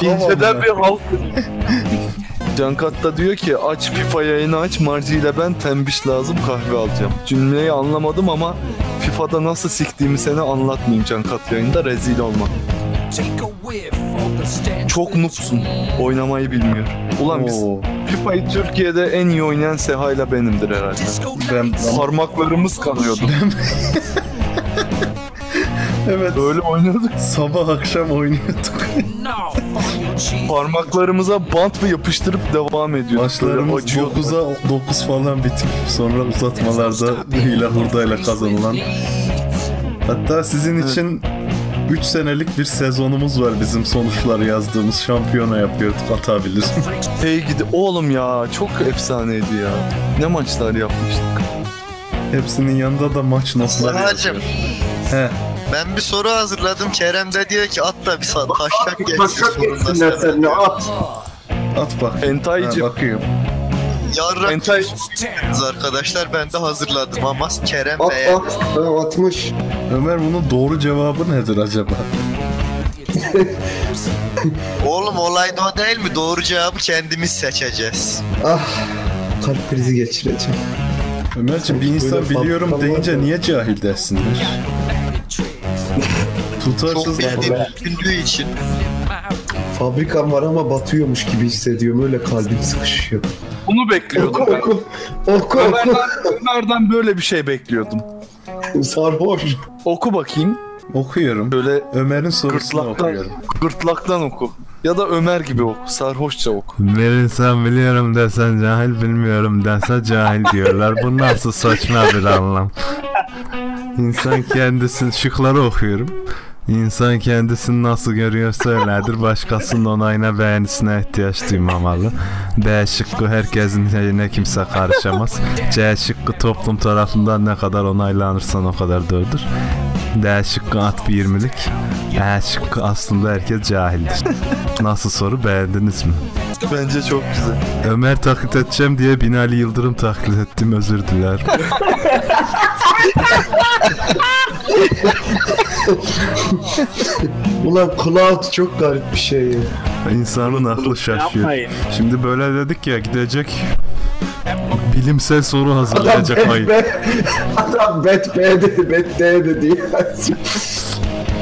İnceden bir hav... Cankat da diyor ki aç FIFA yayını aç Marci ile ben tembiş lazım kahve alacağım. Cümleyi anlamadım ama FIFA'da nasıl siktiğimi seni anlatmayayım Cankat yayında rezil olma. Çok noobsun. Oynamayı bilmiyor. Ulan biz
Oo,
FIFA'yı Türkiye'de en iyi oynayan Seha ile benimdir herhalde.
ben
Parmaklarımız kanıyordu.
evet
Böyle oynuyorduk.
sabah akşam oynuyorduk.
Parmaklarımıza bant mı yapıştırıp devam ediyorduk.
Maçlarımız 9'a 9 falan bitip sonra uzatmalarda hile hurdayla kazanılan. Hatta sizin için 3 senelik bir sezonumuz var bizim sonuçlar yazdığımız şampiyona yapıyorduk atabilir.
Hey gidi oğlum ya çok efsaneydi ya. Ne maçlar yapmıştık.
Hepsinin yanında da maç notları
Sahacım.
yazıyor. He.
Ben bir soru hazırladım. Kerem de diyor ki hatta bir sa- taşak geçsin
başka şey.
sorunla
geçsinler
sen.
seninle at.
At bak. Ha,
Entaycı
bakıyorum.
Yarrak
Entay
arkadaşlar ben de hazırladım ama Kerem
At
Bey'e
at. Ha, atmış.
Ömer bunun doğru cevabı nedir acaba?
Oğlum olay da o değil mi? Doğru cevabı kendimiz seçeceğiz.
Ah. Kalp krizi geçireceğim.
Ömerciğim bir insan
Böyle
biliyorum
fabrikalar var.
deyince niye cahil dersinler?
Çok
Tutarsız
bildiğim düşündüğü için.
Fabrikam var ama batıyormuş gibi hissediyorum. Öyle kalbim sıkışıyor.
bunu
Oku
bekliyordum ben.
oku. Oku
Ömer'den,
oku.
Ömer'den böyle bir şey bekliyordum.
Sarhoş.
Oku bakayım.
okuyorum.
Böyle
Ömer'in sorusunu
gırtlaktan,
okuyorum.
gırtlaktan oku. Ya da Ömer gibi oku. Sarhoşça oku.
Bir insan biliyorum desen cahil bilmiyorum dense cahil diyorlar. Bu nasıl saçma bir anlam. İnsan kendisini şıkları okuyorum. İnsan kendisini nasıl görüyorsa öyledir. Başkasının onayına beğenisine ihtiyaç duymamalı. D şıkkı herkesin eline kimse karışamaz. C şıkkı toplum tarafından ne kadar onaylanırsan o kadar doğrudur. D şıkkı at bir yirmilik. E şıkkı aslında herkes cahildir. Nasıl soru beğendiniz mi?
Bence çok güzel.
Ömer taklit edeceğim diye Binali Yıldırım taklit ettim özür dilerim.
Ulan cloud çok garip bir şey. ya.
İnsanın aklı şaşıyor.
Yapmayın.
Şimdi böyle dedik ya gidecek bilimsel soru
Adam
hazırlayacak
bet
hayır.
be. Adam bet be dedi. Bet de dedi.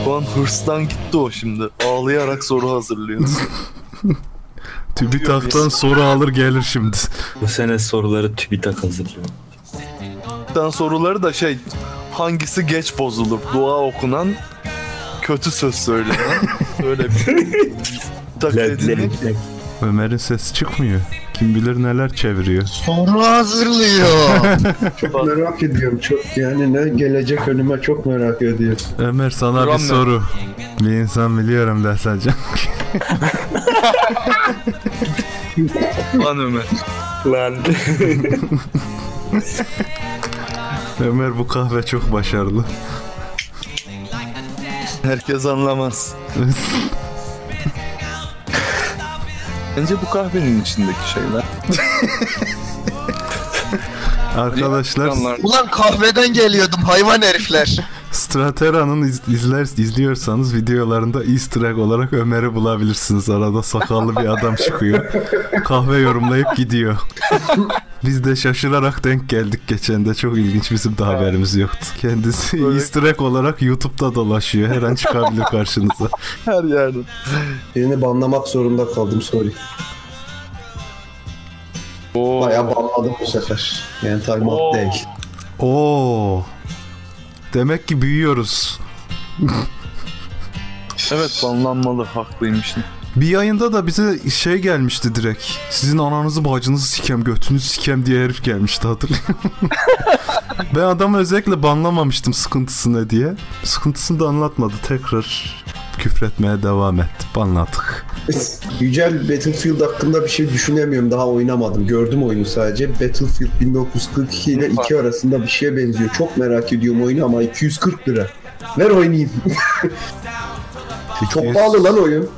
Ulan hırstan gitti o şimdi. Ağlayarak soru hazırlıyor.
TÜBİTAK'tan soru alır gelir şimdi.
Bu sene soruları TÜBİTAK hazırlıyor.
Sen soruları da şey hangisi geç bozulur? Dua okunan kötü söz söylenen. Öyle bir taklidini.
Ömer'in sesi çıkmıyor. Kim bilir neler çeviriyor.
Soru hazırlıyor.
çok merak ediyorum. Çok yani ne gelecek önüme çok merak ediyorum.
Ömer sana
Duran
bir
mı?
soru. Bir insan biliyorum da sadece.
Lan Ömer.
Lan.
Ömer bu kahve çok başarılı.
Herkes anlamaz. Bence bu kahvenin içindeki şeyler.
Arkadaşlar
Ulan kahveden geliyordum hayvan herifler.
Stratera'nın iz- izler izliyorsanız videolarında easter egg olarak Ömer'i bulabilirsiniz. Arada sakallı bir adam çıkıyor. Kahve yorumlayıp gidiyor. Biz de şaşırarak denk geldik geçen de. Çok ilginç bizim de haberimiz yoktu. Kendisi
Böyle-
easter egg olarak YouTube'da dolaşıyor. Her an çıkabilir karşınıza.
her yerde.
Birini banlamak zorunda kaldım sorry.
Oo.
Bayağı banladım bu sefer. Yani time out değil.
Oo. Demek ki büyüyoruz.
Evet banlanmalı haklıymışsın.
Bir yayında da bize şey gelmişti direkt. Sizin ananızı bacınızı sikem götünüzü sikem diye herif gelmişti hatırlıyorum. ben adamı özellikle banlamamıştım sıkıntısına diye. Sıkıntısını da anlatmadı. Tekrar küfretmeye devam etti. Banladık.
Yücel Battlefield hakkında bir şey düşünemiyorum. Daha oynamadım. Gördüm oyunu sadece. Battlefield 1942 ile 2 arasında bir şeye benziyor. Çok merak ediyorum oyunu ama 240 lira. Ver oynayayım. Çok
200
E, pahalı lan oyun.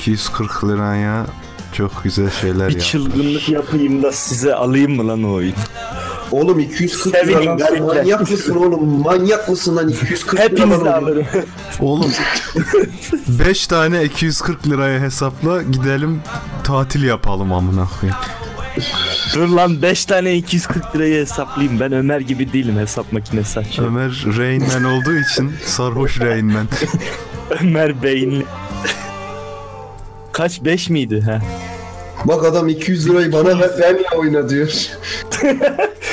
240 liraya çok güzel şeyler
Bir
ya.
çılgınlık yapayım da size alayım mı lan o oyunu?
Oğlum 240 lira
Sevinin,
lan.
sevinin.
Manyak mısın oğlum? Manyak mısın lan 240 lira
Hepiniz
lan oyun?
alırım.
Oğlum 5 tane 240 liraya hesapla gidelim tatil yapalım amına koyayım.
Dur lan 5 tane 240 lirayı hesaplayayım. Ben Ömer gibi değilim hesap makinesi aç.
Ömer Rain Man olduğu için sarhoş Rain Man.
Ömer beyinli. Kaç 5 miydi ha?
Bak adam 200 lirayı bana ver, vermiyor oyna diyor.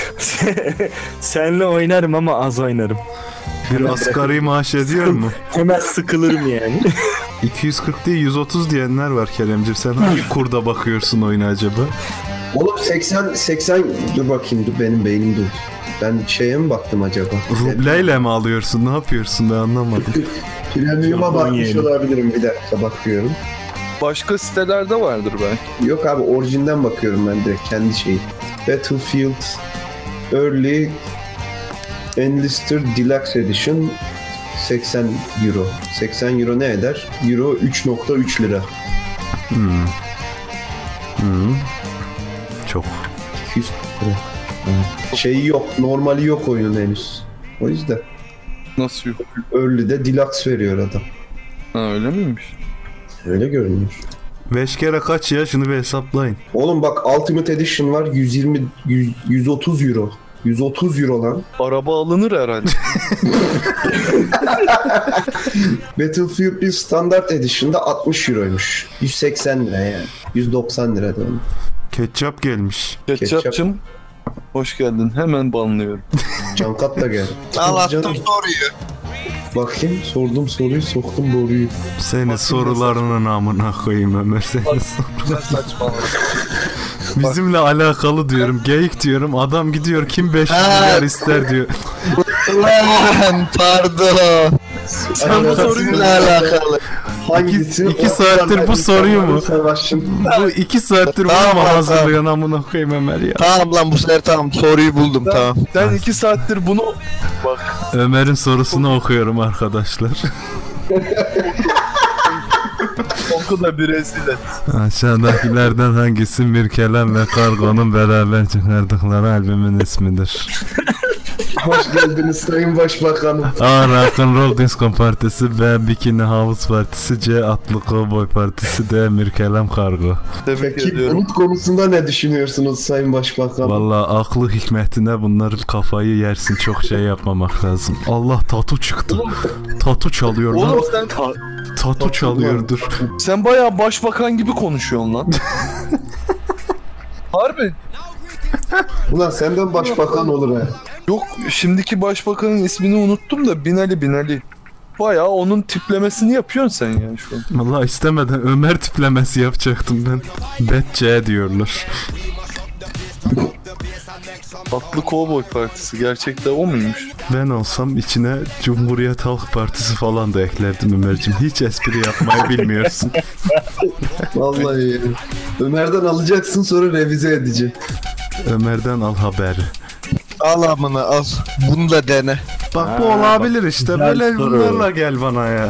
Senle oynarım ama az oynarım.
Bir asgari maaş ediyor mu?
Hemen sıkılırım yani.
240 değil 130 diyenler var Keremcim. Sen hangi kurda bakıyorsun oyuna acaba?
Oğlum 80 80 dur bakayım dur benim beynim dur. Ben şeye mi baktım acaba?
Rubleyle mi alıyorsun? Ne yapıyorsun ben anlamadım.
Premium'a bakmış
yeğeni.
olabilirim bir dakika bakıyorum.
Başka sitelerde vardır belki.
Yok abi orijinden bakıyorum ben direkt kendi şeyi. Battlefield Early Enlisted Deluxe Edition 80 euro. 80 euro ne eder? Euro 3.3 lira.
Çok.
200 lira. Şeyi yok. Normali yok oyunun henüz. O yüzden.
Nasıl yok?
Early'de deluxe veriyor adam.
Ha öyle miymiş?
Öyle görünüyor.
5 kere kaç ya şunu bir hesaplayın.
Oğlum bak Ultimate Edition var 120 100 130 euro. 130 euro lan.
Araba alınır herhalde.
Battlefield 1 Standart Edition'da 60 euroymuş. 180 lira yani. 190 lira diyorum.
Ketçap gelmiş.
Ketçapçım. Hoş geldin. Hemen banlıyorum.
Cankat da geldi.
Al attım
Canım,
soruyu.
Bakayım sordum soruyu soktum doğruyu.
Senin sorularının amına koyayım Ömer senin sor-
Güzel saçmalık.
Bizimle alakalı diyorum. Geyik diyorum. Adam gidiyor kim 5 milyar ister diyor.
Lan pardon.
Sen bu soruyla
alakalı.
Hangisi?
İki- iki saattir bu soruyu mu?
Savaşın.
Bu 2 saattir
Tamam,
bunu mu
tamam,
hazırlıyorsun amına koyayım Ömer ya.
Tamam lan bu sefer tamam soruyu buldum tamam.
Sen iki saattir bunu... Bak
Ömer'in sorusunu okuyorum arkadaşlar.
oku da bir rezil et.
Aşağıdakilerden hangisi Mirkelam ve Kargo'nun beraber çıkardıkları albümün ismidir?
Hoş geldiniz Sayın Başbakanım.
A. Rock'n'Roll Disco Partisi B. Bikini House Partisi C. Atlı Cowboy Partisi D. Mirkelam Kargo
Tebrik
Peki
ediyorum.
bulut konusunda ne düşünüyorsunuz Sayın Başbakanım?
Valla aklı hikmetine bunları kafayı yersin çok şey yapmamak lazım. Allah tatu çıktı. Tatu çalıyor lan.
Oğlum sen,
Tatu çalıyordur.
sen bayağı başbakan gibi konuşuyorsun lan. Harbi.
Ulan senden başbakan olur ha.
Yok şimdiki başbakanın ismini unuttum da Binali Binali. Bayağı onun tiplemesini yapıyorsun sen yani şu an.
Valla istemeden Ömer tiplemesi yapacaktım ben. Betçe diyorlar.
Tatlı Cowboy Partisi gerçekten o muymuş?
Ben olsam içine Cumhuriyet Halk Partisi falan da eklerdim Ömer'cim. Hiç espri yapmayı bilmiyorsun.
Vallahi. ya. Ömer'den alacaksın sonra revize edeceksin.
Ömer'den al haberi.
Al amına al. Bunu da dene.
Bak bu olabilir işte. Böyle
soru.
bunlarla gel bana ya.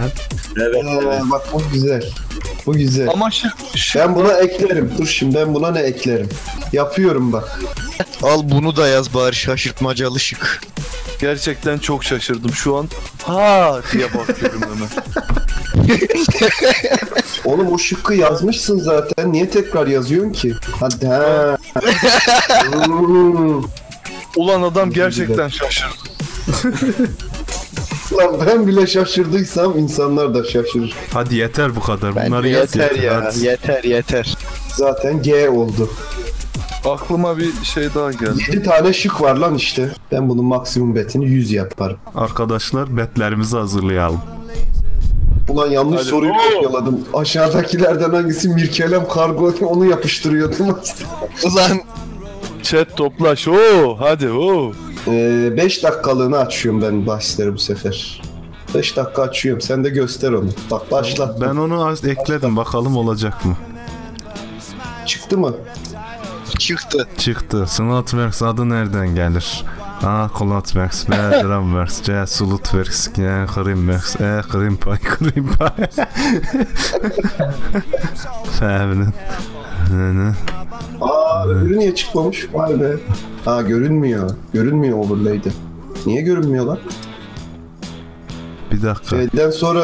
Evet.
Ee, bak bu güzel. Bu güzel.
Ama şık, şık
Ben buna eklerim. Dur şimdi ben buna ne eklerim? Yapıyorum bak.
Al bunu da yaz bari şaşırtmacalı şık.
gerçekten çok şaşırdım şu an. Ha diye bakıyorum hemen.
Oğlum o şıkkı yazmışsın zaten. Niye tekrar yazıyorsun ki? Hadi ha. Hmm.
Ulan adam gerçekten şaşırdı.
Lan ben bile şaşırdıysam insanlar da şaşırır.
Hadi yeter bu kadar.
Bence
Bunları yaz
yeter ya.
hadi.
Yeter yeter.
Zaten G oldu.
Aklıma bir şey daha geldi.
7 tane şık var lan işte. Ben bunun maksimum betini 100 yaparım.
Arkadaşlar betlerimizi hazırlayalım.
Ulan yanlış
Hadi.
soruyu kopyaladım. Aşağıdakilerden hangisi Mirkelem kargo onu yapıştırıyordum.
Ulan
Chat toplaş. Oo hadi oo.
5 Ee, dakikalığını açıyorum ben bahisleri bu sefer. 5 dakika açıyorum. Sen de göster onu. Bak başlat.
Ben onu az ekledim bakalım olacak mı?
Çıktı mı?
çıktı.
Çıktı. Slotworks adı nereden gelir? A. Klotworks B. Drumworks C. Slutworks G. Krimworks E. Krimpay Krimpay Fevrin Nene.
Aa öbürü niye çıkmamış? Vay be. Aa görünmüyor. Görünmüyor overlay'de. Niye görünmüyor lan?
Bir dakika.
F'den sonra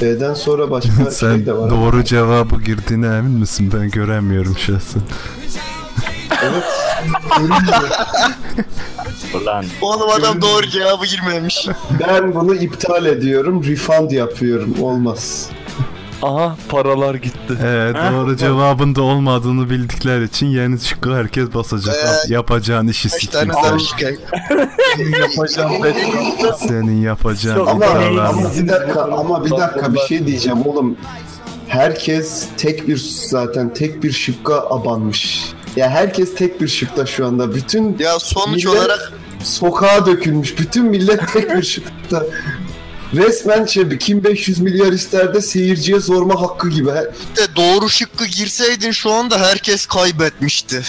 F'den sonra başka
Sen
şey de var.
doğru cevabı girdiğine emin misin? Ben göremiyorum şahsen.
Ulan.
Oğlum adam doğru cevabı girmemiş.
Ben bunu iptal ediyorum. Refund yapıyorum. Olmaz.
Aha paralar gitti.
Evet doğru cevabın da olmadığını bildikleri için yeni şıkkı herkes basacak.
Ee,
Yapacağın işi
Kaç tane
siktir
daha
sen.
şikayet.
Yapacağım bet.
Senin yapacağın
Çok
Ama,
iddialar.
ama bir dakika ama bir dakika bir şey diyeceğim oğlum. Herkes tek bir zaten tek bir şıkka abanmış. Ya herkes tek bir şıkta şu anda. Bütün
Ya sonuç
Millet-
olarak
sokağa dökülmüş. Bütün millet tek bir şıkta. Resmen şey kim 500 milyar ister de seyirciye sorma hakkı gibi.
de doğru şıkkı girseydin şu anda herkes kaybetmişti.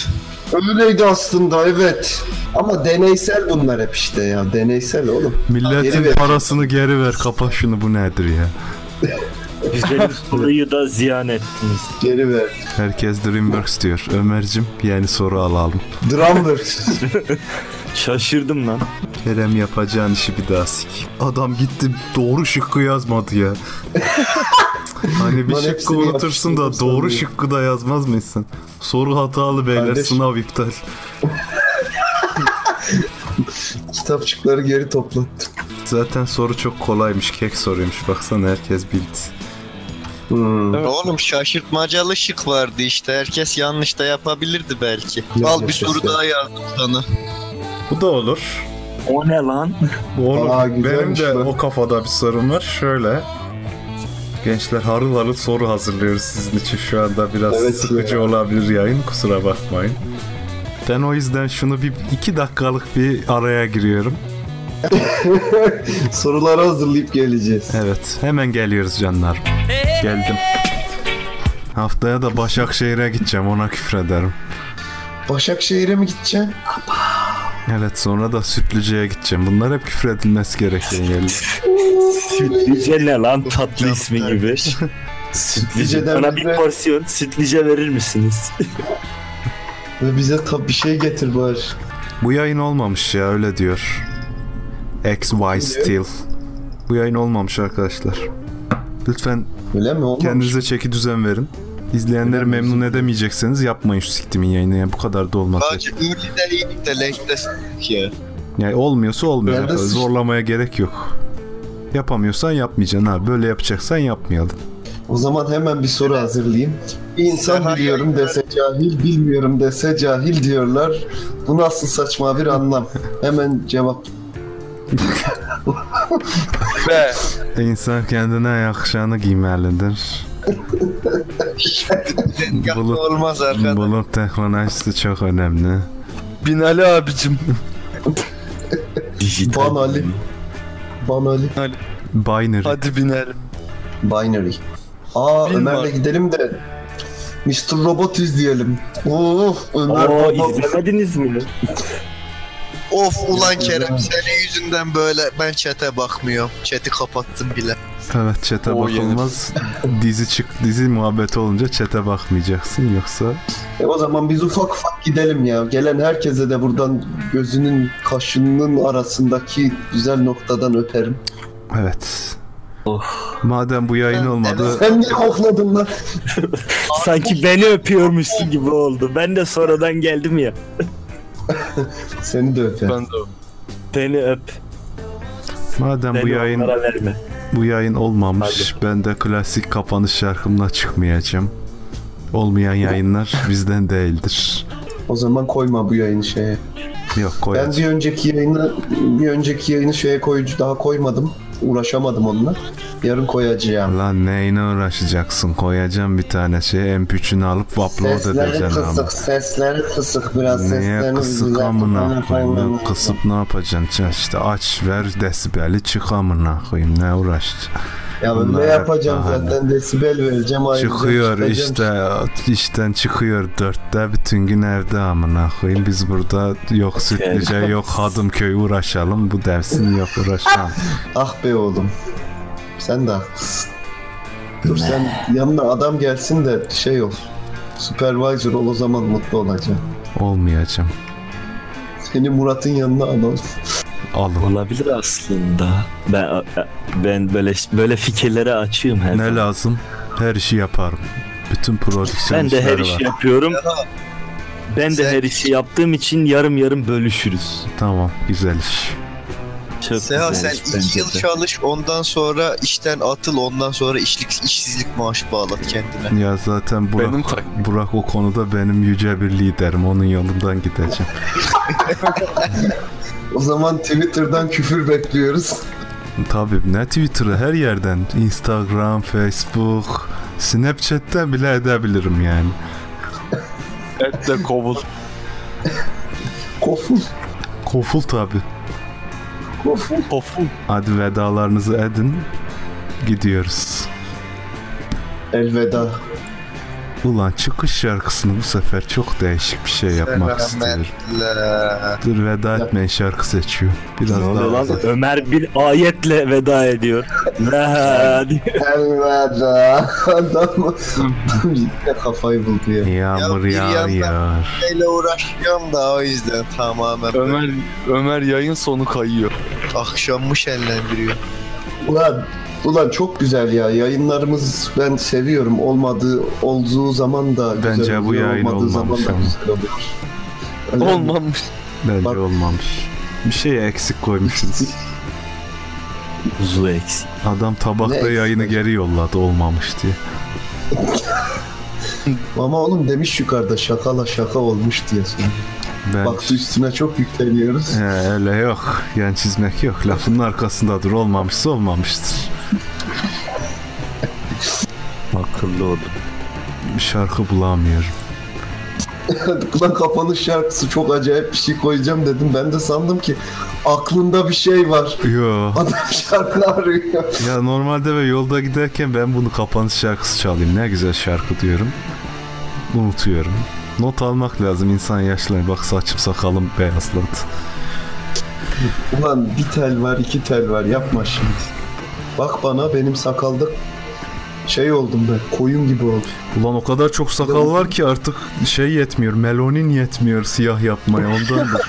Öyleydi aslında evet. Ama deneysel bunlar hep işte ya. Deneysel oğlum.
Milletin
Geri ver.
parasını geri ver kapa şunu bu nedir ya.
Biz benim soruyu da ziyan ettiniz.
Geri ver.
Herkes Dreamworks diyor. Ömer'cim yani soru alalım.
Drumworks.
Şaşırdım lan.
Kerem yapacağın işi bir daha sik. Adam gitti doğru şıkkı yazmadı ya. hani bir
Lan
şıkkı
hepsini
unutursun da
yapıştırdım
doğru
sanıyor.
şıkkı da yazmaz mısın? Soru hatalı beyler
Kardeş.
sınav iptal.
Kitapçıkları geri toplattım.
Zaten soru çok kolaymış kek soruymuş baksana herkes bildi.
Hmm.
Oğlum şaşırtmacalı şık vardı işte. Herkes yanlış da yapabilirdi belki.
Yok,
Al
yok,
bir soru
yok.
daha yazdım sana.
Bu da olur.
O ne lan?
Oğlum
Aa,
benim
güzelmiş
de
lan.
o kafada bir sorun var. Şöyle. Gençler harıl harıl soru hazırlıyoruz sizin için şu anda biraz
Evet
sıkıcı
ya.
olabilir yayın kusura bakmayın.
Ben o yüzden şunu bir iki dakikalık bir araya giriyorum.
Soruları hazırlayıp geleceğiz.
Evet hemen geliyoruz canlar. Geldim. Haftaya da Başakşehir'e gideceğim ona küfrederim.
Başakşehir'e mi gideceksin?
Evet sonra da Sütlüce'ye gideceğim. Bunlar hep küfredilmesi gereken yerler.
Sütlice ne lan tatlı ismi gibi. Sütlice.
Sütlüce'den
Bana bir
bize-
porsiyon sütlice verir misiniz?
Ve bize tab bir şey getir bari.
Bu yayın olmamış ya öyle diyor. XY Steel. Bu yayın olmamış arkadaşlar. Lütfen
Öyle mi? Olmamış.
kendinize çeki düzen verin. İzleyenleri memnun edemeyecekseniz yapmayın şu siktimin yayını ya bu kadar da olmaz.
Bence ünlü de iyilik de lehik de s**k ya.
Yani olmuyorsa olmuyor.
Nerede sıç-
Zorlamaya gerek yok. Yapamıyorsan yapmayacaksın ha. Böyle yapacaksan yapmayalım.
O zaman hemen bir soru hazırlayayım. Bir
Seher
insan biliyorum
yayınlar.
dese cahil, bilmiyorum dese cahil diyorlar. Bu nasıl saçma bir anlam? Hemen cevap.
Be.
İnsan kendine yakışanı giymelidir.
Yapma
Bulut-
olmaz arkadaş.
Bunun teknolojisi çok önemli.
Binali abicim.
Dijital.
Ban Ali. Ban Ali.
Binary.
Hadi Binali.
Binary. Aa
Bilmiyorum.
Ömer'le gidelim de Mr. Robot izleyelim. Of Ömer
Oo
Robot.
izlemediniz mi?
Of ulan Kerem senin yüzünden böyle ben çete bakmıyorum. Çeti kapattım bile.
Evet çete
O yenir.
bakılmaz. dizi çık dizi muhabbeti olunca çete bakmayacaksın yoksa
E o zaman biz ufak ufak gidelim ya. Gelen herkese de buradan gözünün kaşının arasındaki güzel noktadan öperim.
evet. Madem bu yayın
Ha,
olmadı
Sen niye kokladın lan?
Sanki beni öpüyormuşsun gibi oldu. Ben de sonradan geldim ya.
Seni de öperim.
Ben de
Beni öp.
madem
Beni
bu yayın
onlara verme.
bu yayın olmamış ben de klasik kapanış şarkımla çıkmayacağım. Olmayan yayınlar bizden değildir.
O zaman koyma bu yayını şeye.
Yok
Ben
koyacağım.
bir önceki yayını bir önceki yayını şeye koyucu daha koymadım. Uğraşamadım onunla. Yarın koyacağım.
Lan neyine uğraşacaksın? Koyacağım bir tane şey MP3'ünü alıp upload
Sesleri
edeceksin ama.
kısık, sesleri kısık biraz
Neye
seslerini
kısık
düzelt,
amına koyayım?
falan.
Ne Kısıp ne yapacaksın? Çal işte aç ver desibeli çık amına koyayım. Ne uğraşacaksın?
Ya ben ne
Bunlar
yapacağım
bahane.
zaten desibel vereceğim ayrıca
Çıkıyor
çıkacağım.
işte işten çıkıyor dörtte bütün gün evde amına koyayım. Biz burada yok Sütlüce yok Hadımköy uğraşalım. Bu dersin yok uğraşalım.
Ah be oğlum. Sen de haklısın. Dur sen yanına adam gelsin de şey ol. Supervisor ol o zaman mutlu olacağım.
Olmayacağım.
Seni Murat'ın yanına alalım.
Alın.
Olabilir aslında. Ben ben böyle böyle fikirlere açığım her
Ne
zaman.
lazım? Her işi yaparım. Bütün prodüksiyon
Ben de her
işleri var.
işi yapıyorum. Ben de her işi yaptığım için yarım yarım bölüşürüz.
Tamam güzel iş.
Çok
Seha
güzel
sen
iş
iki
bence
yıl
de.
çalış ondan sonra işten atıl ondan sonra işlik, işsizlik maaşı bağlat kendine.
Ya zaten Burak,
Benim tak-
Burak o konuda benim yüce bir liderim. Onun yolundan gideceğim.
O zaman Twitter'dan küfür bekliyoruz.
Tabii ne Twitter'ı her yerden. Instagram, Facebook, Snapchat'ten bile edebilirim yani.
etle kovul.
Koful.
Koful tabi.
Koful.
Koful.
Hadi vedalarınızı edin. Gidiyoruz.
Elveda.
Ulan çıkış şarkısını bu sefer çok değişik bir şey yapmak istiyorum.
Selametle.
Dur veda etmeyin şarkı seçiyor. Biraz
Ne
daha.
oluyor lan?
hızlı.
Ömer bir ayetle veda ediyor. La diye.
Elveda. Adam yine kafayı buldu ya.
Yağmur
Ya bir
yağar
yandan-
yağar.
Neyle uğraşıyorum da o yüzden tamamen
Ömer Ömer yayın sonu kayıyor.
akşamı şenlendiriyor.
Ulan Ulan çok güzel ya. Yayınlarımız ben seviyorum. Olmadığı olduğu zaman da güzel
Bence bu
oluyor,
yayın
olmadığı zaman
olmamış
da
ama.
güzel oluyor. Öyle mi?
Olmamış.
Bence
Bak-
olmamış. Bir şey eksik koymuşsunuz.
Uzu eksik.
Adam
Ne
tabakta
eksik
yayını
acaba?
geri yolladı olmamış diye.
Ama oğlum demiş yukarıda şakala şaka olmuş diye.
Ben
Baktı üstüne çok yükleniyoruz.
He, öyle yok. Yan çizmek yok. Lafın arkasındadır. Olmamışsa olmamıştır.
Akıllı oldu.
Bir şarkı bulamıyorum.
Ulan kapanış şarkısı çok acayip bir şey koyacağım dedim. Ben de sandım ki aklında bir şey var.
Yo.
Adam şarkı arıyor.
Ya normalde ve yolda giderken ben bunu kapanış şarkısı çalayım. Ne güzel şarkı diyorum. Unutuyorum. Not almak lazım. insan yaşlanıyor. Bak saçım sakalım beyazladı.
Ulan bir tel var iki tel var yapma şimdi. Bak bana benim sakalda şey oldum ben koyun gibi oldum.
Ulan o kadar çok sakal var ki artık şey yetmiyor. Melonin yetmiyor siyah yapmaya. Ondan da.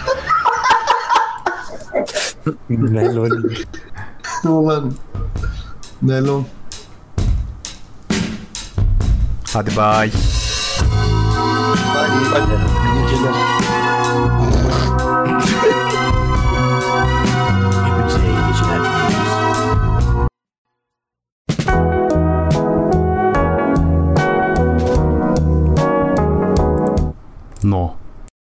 Meloni.
Ulan melon.
Hadi bay.
Hani
iyi geceler.
Hepinize iyi geceler diliyoruz.
No.